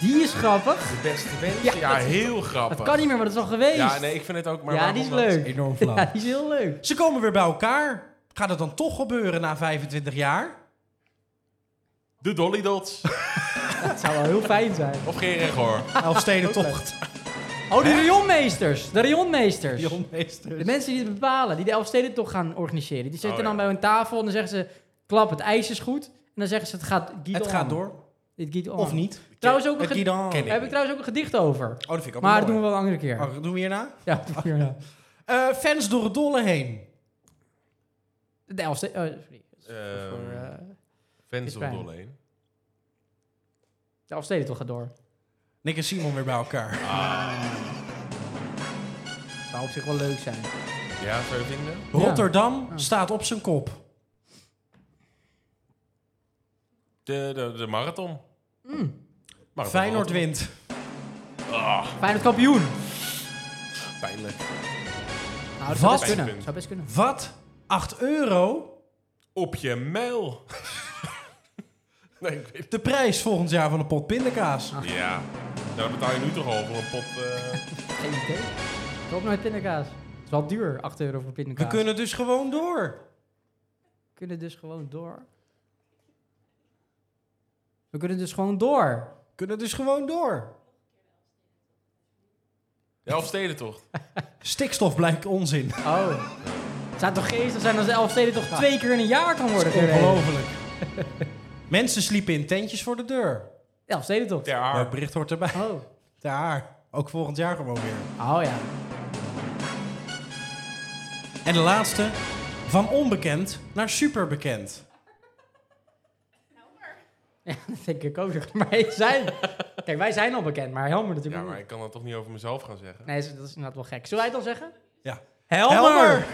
Speaker 3: Die is grappig.
Speaker 4: De beste wens?
Speaker 3: Ja,
Speaker 4: Ja,
Speaker 3: dat-
Speaker 4: heel grappig.
Speaker 3: Dat kan niet meer, maar dat is al geweest.
Speaker 4: Ja, nee, ik vind het ook maar
Speaker 3: Ja,
Speaker 4: waarom
Speaker 3: die is
Speaker 4: dat-
Speaker 3: leuk.
Speaker 2: Enorm flauw.
Speaker 3: Ja, die is heel leuk.
Speaker 2: Ze komen weer bij elkaar. Gaat het dan toch gebeuren na 25 jaar?
Speaker 4: De Dolly Dots.
Speaker 3: Dat zou wel heel fijn zijn.
Speaker 4: Of geen regoor.
Speaker 2: Elfstedentocht.
Speaker 3: Oh, de rionmeesters. De rionmeesters. De
Speaker 2: Jonmeester.
Speaker 3: mensen die het bepalen, die de Elfstedentocht gaan organiseren. Die zitten
Speaker 4: Oh,
Speaker 3: dan
Speaker 4: ja.
Speaker 3: bij hun tafel en dan zeggen ze... Klap, het ijs is goed. En dan zeggen ze, het gaat giet
Speaker 2: Het
Speaker 3: on.
Speaker 2: gaat door.
Speaker 3: Dit giet on.
Speaker 2: Of niet.
Speaker 3: Trouwens ook een
Speaker 2: Het
Speaker 3: ge-
Speaker 2: giet on.
Speaker 4: Ken
Speaker 3: Daar heb ik trouwens ook een gedicht over.
Speaker 2: Oh, dat vind ik ook
Speaker 3: Maar dat
Speaker 2: wel
Speaker 3: doen we
Speaker 2: mooi.
Speaker 3: wel een andere keer.
Speaker 2: Oh, dat doen we hierna?
Speaker 3: Ja, dat doen we hierna.
Speaker 2: Eh, fans door het dolle heen.
Speaker 3: De Elfste... oh, sorry.
Speaker 4: Ehm,
Speaker 3: Voor, eh,
Speaker 4: Fans
Speaker 3: is
Speaker 4: of
Speaker 3: fijn.
Speaker 4: Dolly. heen.
Speaker 3: de Elfstedentocht gaat door.
Speaker 2: Nick en Simon weer bij elkaar.
Speaker 3: Dat zou op zich wel leuk zijn.
Speaker 4: Ja, zou je vinden?
Speaker 2: Rotterdam staat op zijn kop.
Speaker 4: De, de, de marathon.
Speaker 3: Hmm.
Speaker 4: Marathon
Speaker 2: Feyenoord wint.
Speaker 3: Feyenoord kampioen.
Speaker 4: marathon. Pijnlijk.
Speaker 3: Nou, dat zou
Speaker 2: Wat?
Speaker 3: best kunnen.
Speaker 4: Punt.
Speaker 3: zou best kunnen.
Speaker 2: Wat? 8 euro?
Speaker 4: Op je mijl. nee, ik weet
Speaker 2: De prijs volgend jaar van een pot
Speaker 3: Ah,
Speaker 2: pindakaas.
Speaker 4: het Ja. Nou, dan betaal je nu toch al voor een pot... eh,
Speaker 3: Geen idee. Ik hoop nooit pindakaas. Het is wel duur, 8 euro voor
Speaker 2: We
Speaker 3: pindakaas.
Speaker 2: kunnen dus gewoon door.
Speaker 3: We kunnen dus gewoon door. We kunnen dus gewoon door.
Speaker 2: We kunnen dus gewoon door.
Speaker 4: de Elfstedentocht.
Speaker 2: Stikstof blijkt onzin.
Speaker 3: Oh. Het zou toch geestig zijn als de Elfsteden toch twee keer in een jaar kan worden gereden?
Speaker 2: Ongelooflijk. Mensen sliepen in tentjes voor de deur.
Speaker 3: Elfsteden toch?
Speaker 4: Ter
Speaker 2: Maar het
Speaker 4: aard.
Speaker 2: bericht hoort erbij.
Speaker 3: Oh.
Speaker 2: Daar. Ook volgend jaar gewoon weer.
Speaker 3: Oh ja.
Speaker 2: En de laatste. Van onbekend naar superbekend.
Speaker 3: Dat denk ik ook. zeg Maar wij zijn... Kijk, wij zijn al bekend, maar Helmer natuurlijk
Speaker 4: Ja,
Speaker 3: ook
Speaker 4: maar
Speaker 3: niet.
Speaker 4: ik kan dat toch niet over mezelf gaan zeggen?
Speaker 3: Nee, dat is dat is inderdaad wel gek. Zullen wij het dan zeggen?
Speaker 2: Ja.
Speaker 3: Helmer!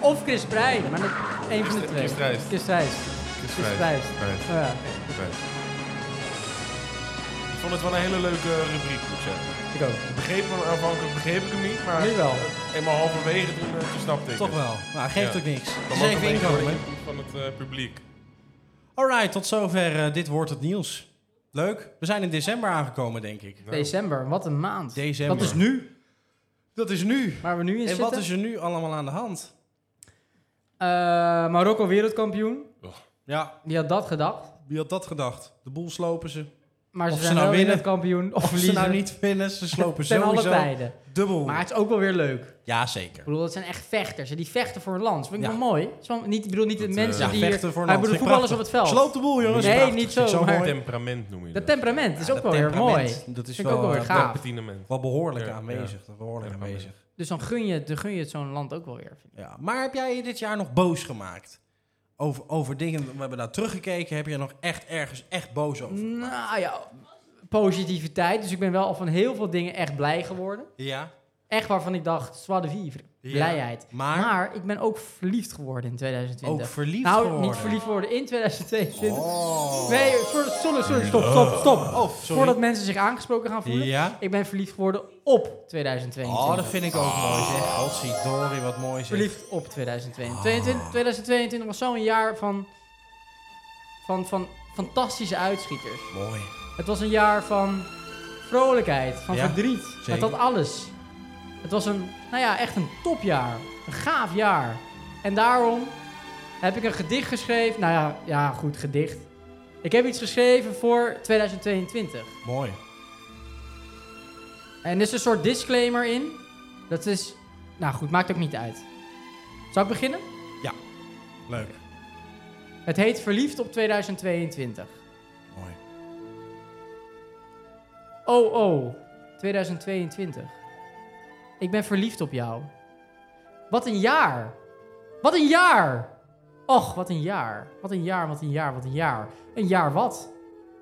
Speaker 3: Of Chris Breijden, maar dat één van de
Speaker 4: Chris-
Speaker 3: twee.
Speaker 4: Chris Dreist.
Speaker 3: Chris Dreist. Chris Dreist.
Speaker 4: Dreist.
Speaker 3: Oh ja.
Speaker 4: Dreist. Ik vond het wel een hele leuke rubriek, moet ik zeggen.
Speaker 3: Ik ook.
Speaker 4: Ik begreep hem aanvankelijk, begreep ik hem niet, maar...
Speaker 3: Nu wel.
Speaker 4: Eenmaal halverwege toen, eh, toen snapte ik
Speaker 2: Toch
Speaker 4: het.
Speaker 2: wel. Nou, geeft
Speaker 4: Ja.
Speaker 2: ook niks.
Speaker 4: Dan
Speaker 2: Dus
Speaker 4: mag ik
Speaker 2: even
Speaker 4: een beetje
Speaker 2: inkomen.
Speaker 4: door de invloed van het eh, publiek.
Speaker 2: Alright, tot zover. eh, dit wordt het nieuws. Leuk. We zijn in december aangekomen, denk ik.
Speaker 3: December, wat een maand.
Speaker 2: December.
Speaker 3: Dat is nu.
Speaker 2: Dat is nu.
Speaker 3: Waar we nu in
Speaker 2: En
Speaker 3: zitten.
Speaker 2: wat is er nu allemaal aan de hand?
Speaker 3: Eh, Marokko wereldkampioen.
Speaker 2: Ja,
Speaker 3: Die had dat gedacht.
Speaker 2: wie had dat gedacht? De boel slopen ze.
Speaker 3: Maar ze
Speaker 2: Of ze
Speaker 3: zijn
Speaker 2: nou
Speaker 3: wel
Speaker 2: winnen,
Speaker 3: wereldkampioen. Of,
Speaker 2: Of ze
Speaker 3: verliezen.
Speaker 2: nou niet winnen, ze slopen
Speaker 3: Het zijn alle
Speaker 2: sowieso.
Speaker 3: tijden.
Speaker 2: Dubbel.
Speaker 3: Maar het is ook wel weer leuk. Ik
Speaker 2: Jazeker.
Speaker 3: bedoel, dat zijn echt vechters. En die vechten voor hun land. Dat vind ik
Speaker 2: Ja.
Speaker 3: wel mooi. Zo, niet, ik bedoel niet de
Speaker 4: Dat,
Speaker 3: mensen
Speaker 4: eh,
Speaker 3: die
Speaker 2: Ja, vechten voor
Speaker 3: hier...
Speaker 2: een
Speaker 3: Maar ik
Speaker 2: land.
Speaker 3: bedoel
Speaker 2: Vind ik
Speaker 3: voetballers op het
Speaker 2: prachtig.
Speaker 3: veld.
Speaker 2: Sloop de boel, jongens.
Speaker 3: Nee,
Speaker 2: Prachtig.
Speaker 3: niet
Speaker 2: Vind ik
Speaker 3: zo, maar-
Speaker 2: mooi.
Speaker 4: Temperament noem je
Speaker 3: Dat
Speaker 4: dat.
Speaker 3: temperament is ook
Speaker 2: Ja,
Speaker 3: wel
Speaker 2: dat
Speaker 3: weer mooi.
Speaker 2: temperament, Dat is
Speaker 3: Vind ik ook
Speaker 2: wel,
Speaker 3: wel weer
Speaker 2: eh,
Speaker 3: gaaf.
Speaker 4: Temperament.
Speaker 2: wel behoorlijk
Speaker 4: Ja,
Speaker 2: aanwezig. wel Behoorlijk aanwezig.
Speaker 3: Dus dan gun je, dan gun je het zo'n land ook wel weer.
Speaker 2: Ja. Maar heb jij je dit jaar nog boos gemaakt? Over, over dingen, we hebben daar teruggekeken. Heb je er nog echt ergens echt boos over?
Speaker 3: Nou ja, positiviteit. Dus ik ben wel van heel veel dingen echt blij geworden.
Speaker 2: Ja.
Speaker 3: Echt waarvan ik dacht, soit de vivre.
Speaker 2: Ja.
Speaker 3: Blijheid.
Speaker 2: Maar,
Speaker 3: Maar ik ben ook verliefd geworden in 2020.
Speaker 2: ook verliefd
Speaker 3: nou,
Speaker 2: geworden.
Speaker 3: niet verliefd worden in 2022.
Speaker 2: Oh.
Speaker 3: Nee, sorry, sorry, sorry, stop, stop, stop.
Speaker 2: Oh, sorry.
Speaker 3: Voordat mensen zich aangesproken gaan voelen.
Speaker 2: Ja.
Speaker 3: Ik ben verliefd geworden op 2022.
Speaker 2: Oh, dat vind ik ook mooi zeg. Godzijdorie, wat mooi zeg.
Speaker 3: Oh. Verliefd op 2022. 22 2022 was zo'n jaar van, van, van fantastische uitschieters.
Speaker 2: Mooi.
Speaker 3: Het was een jaar van vrolijkheid, van
Speaker 2: Ja,
Speaker 3: verdriet. Het
Speaker 2: zeker.
Speaker 3: had alles. Het was een, nou ja, echt een topjaar. Een gaaf jaar. En daarom heb ik een gedicht geschreven. Nou ja, ja goed, gedicht. Ik heb iets geschreven voor 2022.
Speaker 2: Mooi.
Speaker 3: En er is een soort disclaimer in. Dat is, nou goed, maakt ook niet uit. Zal ik beginnen?
Speaker 2: Leuk.
Speaker 3: Het heet Verliefd op 2022.
Speaker 2: Mooi.
Speaker 3: Oh, oh, 2022. Ik ben verliefd op jou. Wat een jaar. Wat een jaar. Och, wat een jaar. Wat een jaar, wat een jaar, wat een jaar. Een jaar wat?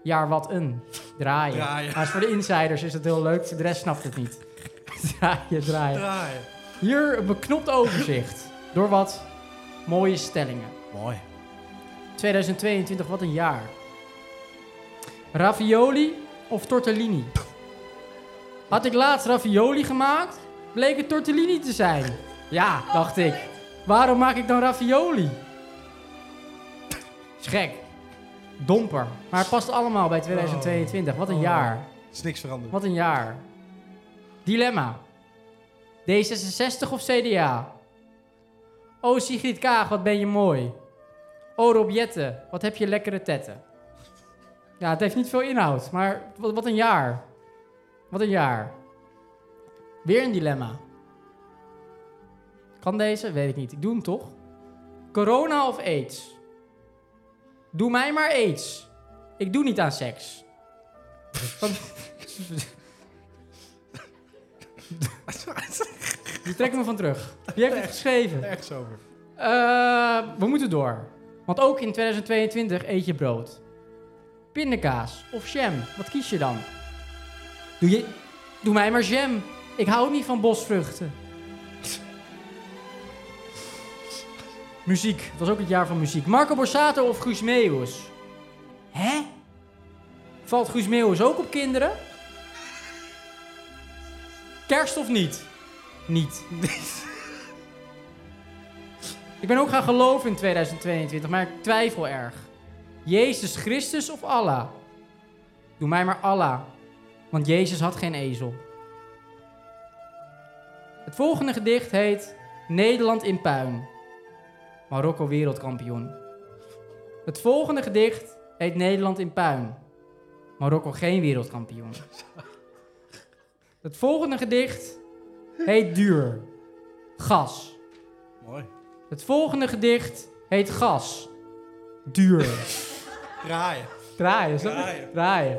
Speaker 3: Jaar wat een. Draaien.
Speaker 2: Draaien.
Speaker 3: Maar is voor de insiders is het heel leuk, de rest snapt het niet. draaien, draaien.
Speaker 2: Draaien.
Speaker 3: Hier een beknopt overzicht door wat mooie stellingen.
Speaker 2: Mooi.
Speaker 3: 2022, wat een jaar. Ravioli of tortellini? Had ik laatst ravioli gemaakt, bleek het tortellini te zijn. Ja, dacht ik. Waarom maak ik dan ravioli? Is gek. Domper. Maar het past allemaal bij 2022. Wat een jaar.
Speaker 2: Is niks veranderd.
Speaker 3: Wat een jaar. Dilemma. D66 of CDA? O Sigrid Kaag, wat ben je mooi. O Rob Jetten, wat heb je lekkere tetten. Ja, het heeft niet veel inhoud, maar wat, wat een jaar. Wat een jaar. Weer een dilemma. Kan deze? Weet ik niet. Ik doe hem toch? Corona of AIDS? Doe mij maar AIDS. Ik doe niet aan seks. Je trekt me van terug. Wie heeft het geschreven?
Speaker 2: Echt sober.
Speaker 3: Eh, we moeten door. Want ook in 2022 eet je brood. Pindakaas of jam, wat kies je dan? Doe, je, doe mij maar jam. Ik hou niet van bosvruchten. muziek, het was ook het jaar van muziek. Marco Borsato of Guus Meeuwis? Hè? Valt Guus Meeuwis ook op kinderen? Kerst of niet? Niet. Ik ben ook gaan geloven in 2022, maar ik twijfel erg. Jezus Christus of Allah? Doe mij maar Allah, want Jezus had geen ezel. Het volgende gedicht heet Nederland in puin. Marokko wereldkampioen. Het volgende gedicht heet Nederland in puin. Marokko geen wereldkampioen. Het volgende gedicht heet Duur. Gas.
Speaker 2: Mooi.
Speaker 3: Het volgende gedicht heet Gas. Duur.
Speaker 2: Draaien.
Speaker 3: Draaien, snap je?
Speaker 2: Draaien.
Speaker 3: Draaien.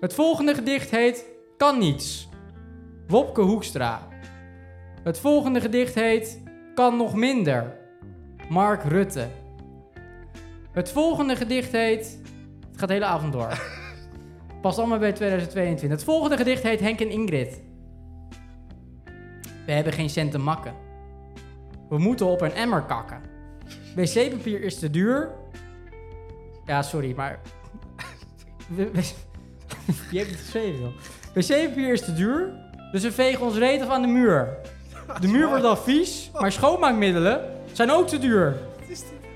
Speaker 3: Het volgende gedicht heet Kan niets. Wopke Hoekstra. Het volgende gedicht heet Kan nog minder. Mark Rutte. Het volgende gedicht heet... Het gaat de hele avond door. Past allemaal bij 2022. Het volgende gedicht heet Henk en Ingrid. We hebben geen cent te makken. We moeten op een emmer kakken. Wc-papier is te duur. Ja, sorry, maar... We- we- Je hebt het geschreven, joh. Wc-papier is te duur, dus we vegen ons reet af aan de muur. De muur wordt al vies, maar schoonmaakmiddelen zijn ook te duur.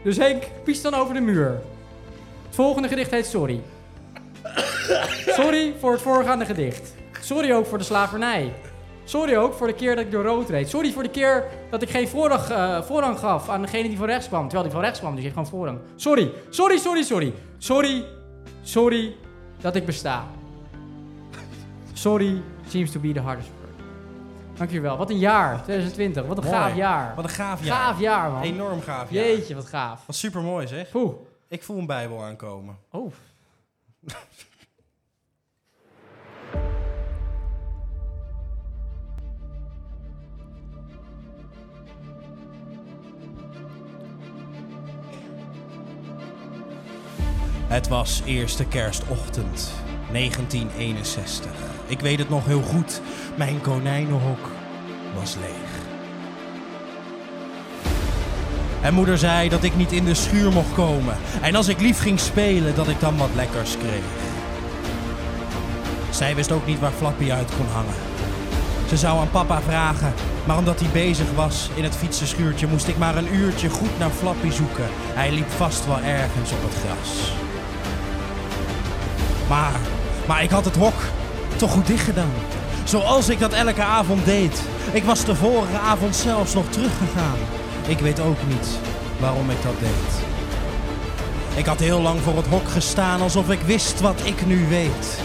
Speaker 3: Dus Henk, pies dan over de muur. Het volgende gedicht heet Sorry. Sorry voor het voorgaande gedicht. Sorry ook voor de slavernij. Sorry ook voor de keer dat ik door rood reed. Sorry voor de keer dat ik geen voorrang, eh, voorrang gaf aan degene die van rechts kwam. Terwijl die van rechts kwam, dus je heeft gewoon voorrang. Sorry, sorry, sorry, sorry. Sorry, sorry dat ik besta. Sorry seems to be the hardest word. Dankjewel. Wat een jaar, 2020. Wat een
Speaker 2: Mooi.
Speaker 3: gaaf jaar.
Speaker 2: Wat een gaaf jaar.
Speaker 3: gaaf jaar, man.
Speaker 2: Enorm gaaf jaar.
Speaker 3: Jeetje, wat gaaf.
Speaker 2: Wat super mooi zeg.
Speaker 3: Poeh.
Speaker 2: Ik voel een Bijbel aankomen.
Speaker 3: Oh.
Speaker 2: Het was eerste kerstochtend 1961. Ik weet het nog heel goed. Mijn konijnenhok was leeg. En moeder zei dat ik niet in de schuur mocht komen. En als ik lief ging spelen, dat ik dan wat lekkers kreeg. Zij wist ook niet waar Flappy uit kon hangen. Ze zou aan papa vragen, maar omdat hij bezig was in het fietsenschuurtje, moest ik maar een uurtje goed naar Flappy zoeken. Hij liep vast wel ergens op het gras. Maar, maar ik had het hok toch goed dicht gedaan. Zoals ik dat elke avond deed. Ik was de vorige avond zelfs nog teruggegaan. Ik weet ook niet waarom ik dat deed. Ik had heel lang voor het hok gestaan alsof ik wist wat ik nu weet.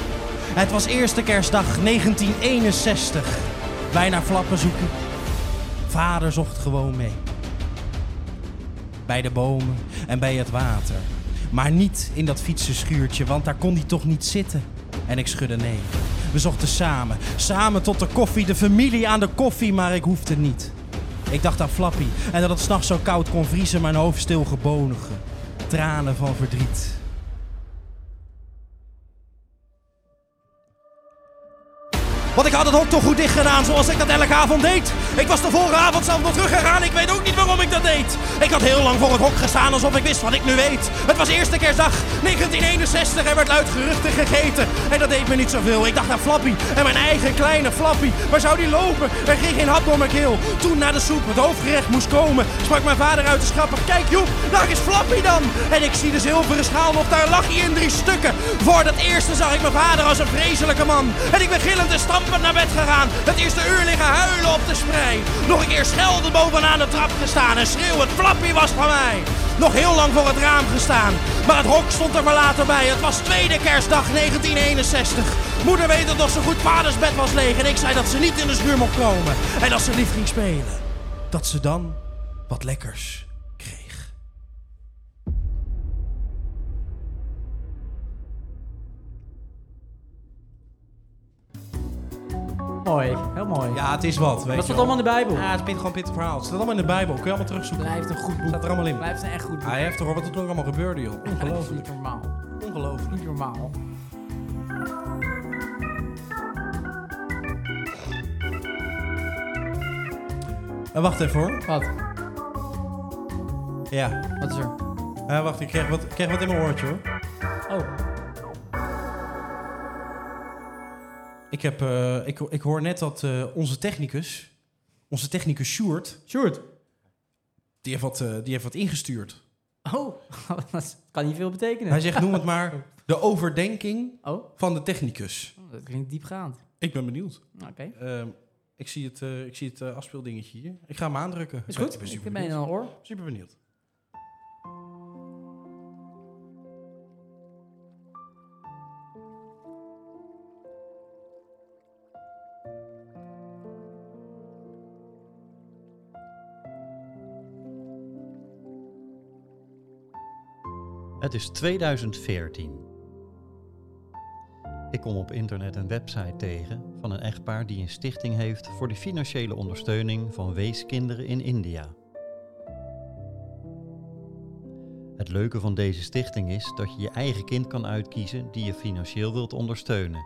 Speaker 2: Het was eerste kerstdag 1961. Wij naar flappen zoeken. Vader zocht gewoon mee. Bij de bomen en bij het water. Maar niet in dat fietsenschuurtje, want daar kon hij toch niet zitten. En ik schudde nee. We zochten samen, samen tot de koffie, de familie aan de koffie, maar ik hoefde niet. Ik dacht aan Flappy en dat het s'nachts zo koud kon vriezen, mijn hoofd stil gebonigen. Tranen van verdriet. Want ik had het hok toch goed dicht gedaan, zoals ik dat elke avond deed. Ik was de vorige avond zelf nog teruggegaan, ik weet ook niet waarom ik dat deed. Ik had heel lang voor het hok gestaan, alsof ik wist wat ik nu weet. Het was eerste kerstdag 1961 en werd luid geruchten gegeten. En dat deed me niet zoveel. Ik dacht aan Flappy en mijn eigen kleine Flappy. Waar zou die lopen? Er ging geen hap door mijn keel. Toen na de soep het hoofdgerecht moest komen, sprak mijn vader uit de schapper. Kijk Joep, daar is Flappy dan. En ik zie de zilveren schaal nog, daar lag hij in drie stukken. Voor dat eerste zag ik mijn vader als een vreselijke man. En ik ben gillend en stampend naar bed gegaan. Het eerste uur liggen huilen op de sprei. Nog een keer schelden bovenaan de trap gestaan en schreeuwend Flappy was van mij. Nog heel lang voor het raam gestaan. Maar het hok stond er maar later bij. Het was tweede kerstdag 1961. Moeder weet dat nog zo goed vaders bed was leeg. En ik zei dat ze niet in de schuur mocht komen. En als ze lief ging spelen, dat ze dan wat lekkers kreeg.
Speaker 3: Mooi, heel mooi.
Speaker 2: Ja, het is wat, weet
Speaker 3: Wat
Speaker 2: je
Speaker 3: staat
Speaker 2: wel.
Speaker 3: allemaal in de Bijbel?
Speaker 2: Ja, Ah, het is gewoon pittig verhaal. Het staat allemaal in de Bijbel. Kun je allemaal terugzoeken.
Speaker 3: Blijft een goed boek.
Speaker 2: Staat er allemaal in.
Speaker 3: Blijft een echt goed boek.
Speaker 2: Hij heeft hoor, wat er toen allemaal gebeurde, joh.
Speaker 3: Dat is
Speaker 2: Ongelooflijk.
Speaker 3: niet normaal.
Speaker 2: Ongelooflijk.
Speaker 3: Niet normaal.
Speaker 2: Eh, wacht even hoor.
Speaker 3: Wat?
Speaker 2: Ja.
Speaker 3: Wat is er?
Speaker 2: Eh, wacht, ik krijg wat, ik krijg wat in mijn oortje hoor.
Speaker 3: Oh,
Speaker 2: Ik, heb, eh, ik, ik hoor net dat eh, onze technicus, onze technicus Sjoerd,
Speaker 3: Sjoerd.
Speaker 2: die heeft wat, eh, die heeft wat ingestuurd.
Speaker 3: Oh, dat kan niet veel betekenen.
Speaker 2: Hij zegt, noem het maar, de overdenking
Speaker 3: Oh,
Speaker 2: van de technicus.
Speaker 3: dat klinkt diepgaand.
Speaker 2: Ik ben benieuwd.
Speaker 3: Oké,
Speaker 2: Ehm, ik zie het, eh, ik zie het eh, afspeeldingetje hier. Ik ga hem aandrukken.
Speaker 3: is
Speaker 2: Ik ben-
Speaker 3: goed.
Speaker 2: Ik ben super
Speaker 3: Ik ben in
Speaker 2: benieuwd.
Speaker 3: een oor.
Speaker 2: Super benieuwd.
Speaker 7: Het is 2014. Ik kom op internet een website tegen van een echtpaar die een stichting heeft voor de financiële ondersteuning van weeskinderen in India. Het leuke van deze stichting is dat je je eigen kind kan uitkiezen die je financieel wilt ondersteunen.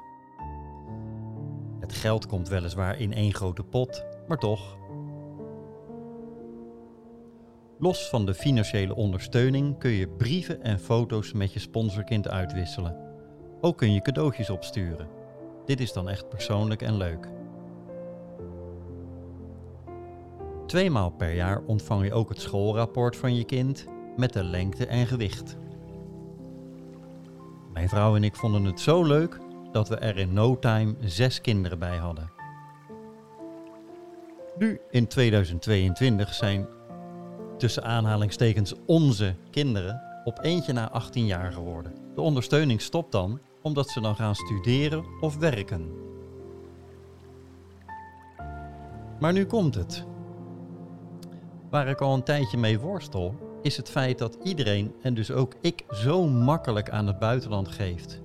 Speaker 7: Het geld komt weliswaar in één grote pot, maar toch. Los van de financiële ondersteuning kun je brieven en foto's met je sponsorkind uitwisselen. Ook kun je cadeautjes opsturen. Dit is dan echt persoonlijk en leuk. Tweemaal per jaar ontvang je ook het schoolrapport van je kind met de lengte en gewicht. Mijn vrouw en ik vonden het zo leuk dat we er in no time zes kinderen bij hadden. Nu in 2022 zijn tussen aanhalingstekens onze kinderen op eentje na 18 jaar geworden. De ondersteuning stopt dan omdat ze dan gaan studeren of werken. Maar nu komt het. Waar ik al een tijdje mee worstel, is het feit dat iedereen en dus ook ik zo makkelijk aan het buitenland geeft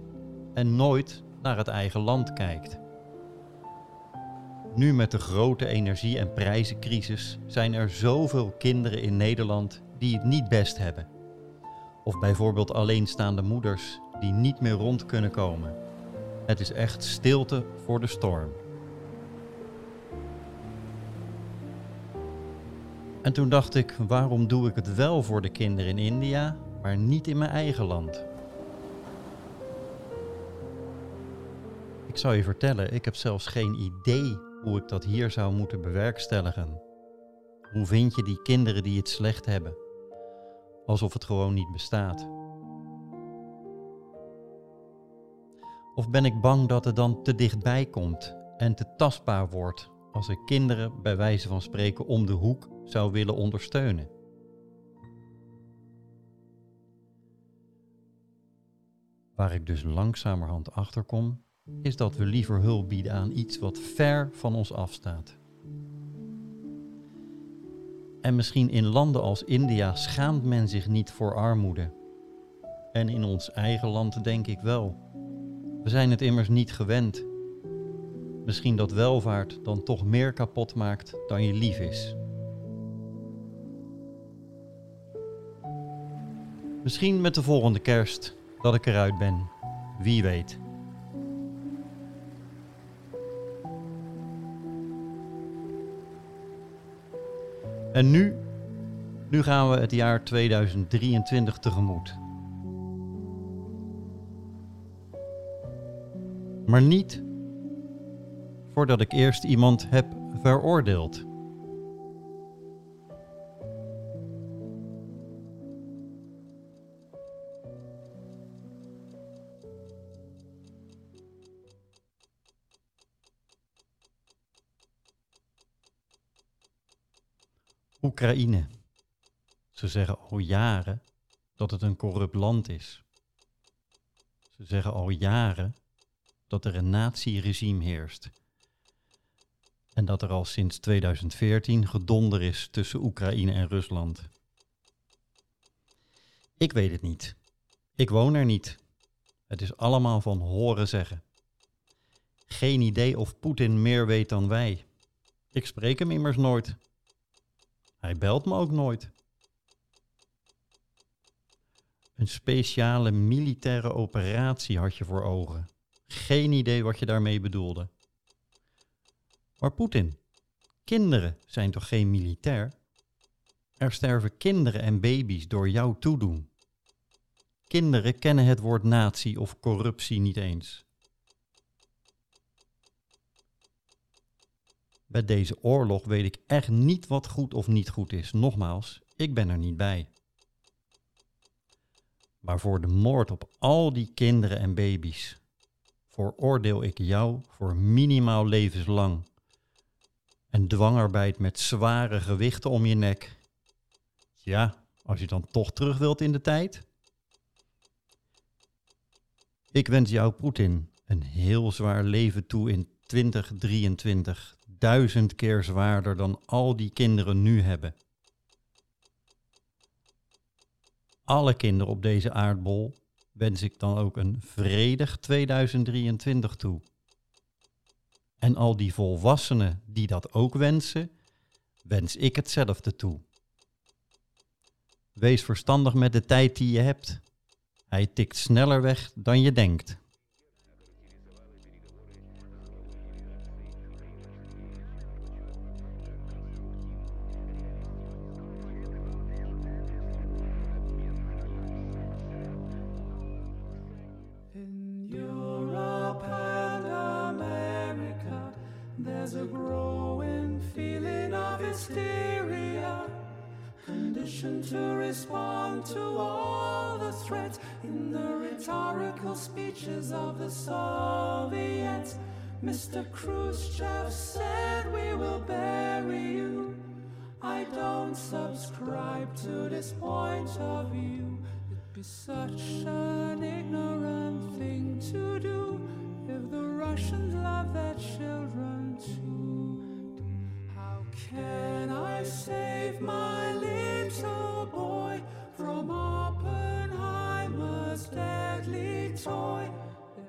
Speaker 7: en nooit naar het eigen land kijkt. Nu met de grote energie- en prijzencrisis zijn er zoveel kinderen in Nederland die het niet best hebben. Of bijvoorbeeld alleenstaande moeders die niet meer rond kunnen komen. Het is echt stilte voor de storm. En toen dacht ik, waarom doe ik het wel voor de kinderen in India, maar niet in mijn eigen land? Ik zou je vertellen, ik heb zelfs geen idee hoe ik dat hier zou moeten bewerkstelligen. Hoe vind je die kinderen die het slecht hebben? Alsof het gewoon niet bestaat. Of ben ik bang dat het dan te dichtbij komt en te tastbaar wordt als ik kinderen bij wijze van spreken om de hoek zou willen ondersteunen? Waar ik dus langzamerhand achter kom, is dat we liever hulp bieden aan iets wat ver van ons afstaat. En misschien in landen als India schaamt men zich niet voor armoede. En in ons eigen land denk ik wel. We zijn het immers niet gewend. Misschien dat welvaart dan toch meer kapot maakt dan je lief is. Misschien met de volgende kerst dat ik eruit ben. Wie weet. En nu, nu gaan we het jaar 2023 tegemoet. Maar niet voordat ik eerst iemand heb veroordeeld. Oekraïne. Ze zeggen al jaren dat het een corrupt land is. Ze zeggen al jaren dat er een nazi-regime heerst. En dat er al sinds 2014 gedonder is tussen Oekraïne en Rusland. Ik weet het niet. Ik woon er niet. Het is allemaal van horen zeggen. Geen idee of Poetin meer weet dan wij. Ik spreek hem immers nooit. Hij belt me ook nooit. Een speciale militaire operatie had je voor ogen. Geen idee wat je daarmee bedoelde. Maar Poetin, kinderen zijn toch geen militair? Er sterven kinderen en baby's door jouw toedoen. Kinderen kennen het woord nazi of corruptie niet eens. Bij deze oorlog weet ik echt niet wat goed of niet goed is. Nogmaals, ik ben er niet bij. Maar voor de moord op al die kinderen en baby's veroordeel ik jou voor minimaal levenslang. En dwangarbeid met zware gewichten om je nek. Ja, als je dan toch terug wilt in de tijd. Ik wens jou, Poetin, een heel zwaar leven toe in 2023. Duizend keer zwaarder dan al die kinderen nu hebben. Alle kinderen op deze aardbol wens ik dan ook een vredig 2023 toe. En al die volwassenen die dat ook wensen, wens ik hetzelfde toe. Wees verstandig met de tijd die je hebt. Hij tikt sneller weg dan je denkt.
Speaker 8: In Europe and America, there's a growing feeling of hysteria, conditioned to respond to all the threats in the rhetorical speeches of the Soviets. Mr. Khrushchev said, We will bury you. I don't subscribe to this point of view. It'd be such an ignorant thing to do if the Russians love their children too. How can I save my little boy from Oppenheimer's deadly toy?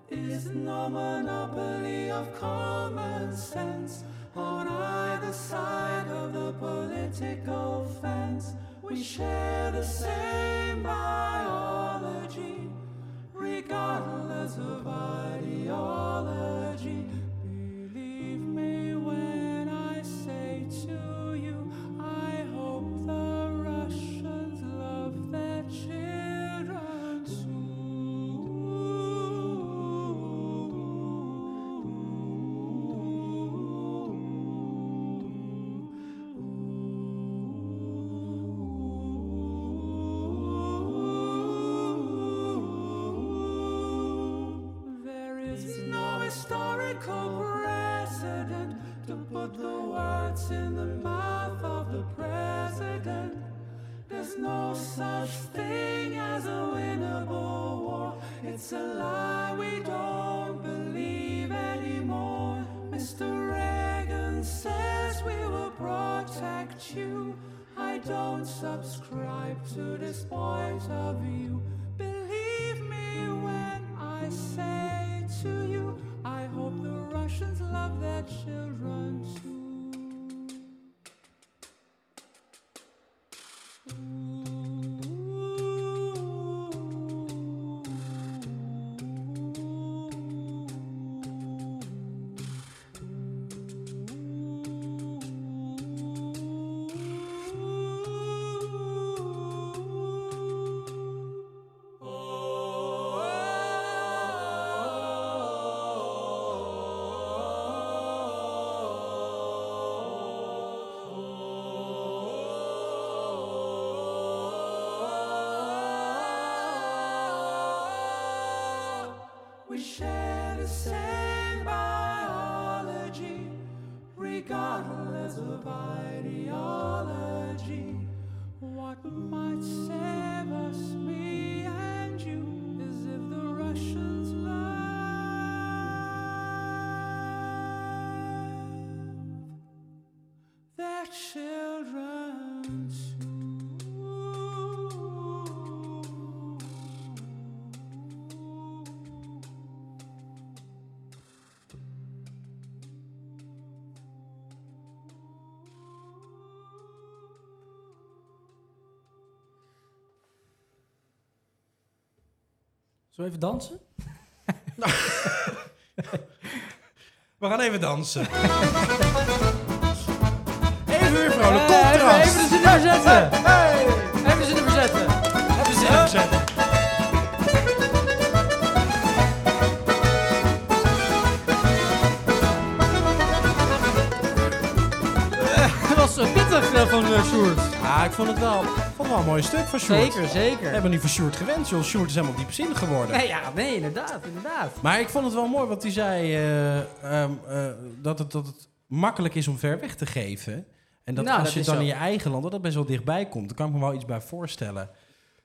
Speaker 8: There is no monopoly of common sense on either side of the political fence. We share the same biology, regardless of ideology. Believe me when I say to you, I hope the Russians love their children too. There is no historical precedent to put the words in the mouth of the president. There's no such thing as a winnable war. It's a lie we don't believe anymore. Mr. Reagan says we will protect you. I don't subscribe to this point of view. Believe me when I say to you, I hope the Russians love their children too. Ooh. We share the same biology, regardless of ideology. What might save us, me and you, is if the Russians love their children. too.
Speaker 9: Zullen we even dansen?
Speaker 2: We gaan even dansen. even weer vrolijk
Speaker 3: Eh, even,
Speaker 2: contrast.
Speaker 3: even de zin verzetten. Even de zin verzetten.
Speaker 2: Even zin opzetten.
Speaker 3: Dat was eh, pittig eh, van eh, Sjoerd.
Speaker 2: Ah, ik vond het wel, vond het wel een mooi stuk van Sjoerd.
Speaker 3: Zeker,
Speaker 2: We
Speaker 3: zeker.
Speaker 2: hebben niet van Sjoerd gewend, joh. Sjoerd is helemaal diepzinnig geworden.
Speaker 3: Nee, ja, nee, inderdaad, inderdaad.
Speaker 2: Maar ik vond het wel mooi wat hij zei. eh, ehm, eh, dat, het, dat het makkelijk is om ver weg te geven. En dat
Speaker 3: Nou,
Speaker 2: als
Speaker 3: dat
Speaker 2: je
Speaker 3: is
Speaker 2: dan
Speaker 3: zo.
Speaker 2: in je eigen land, dat dat best wel dichtbij komt. Dan kan ik me wel iets bij voorstellen.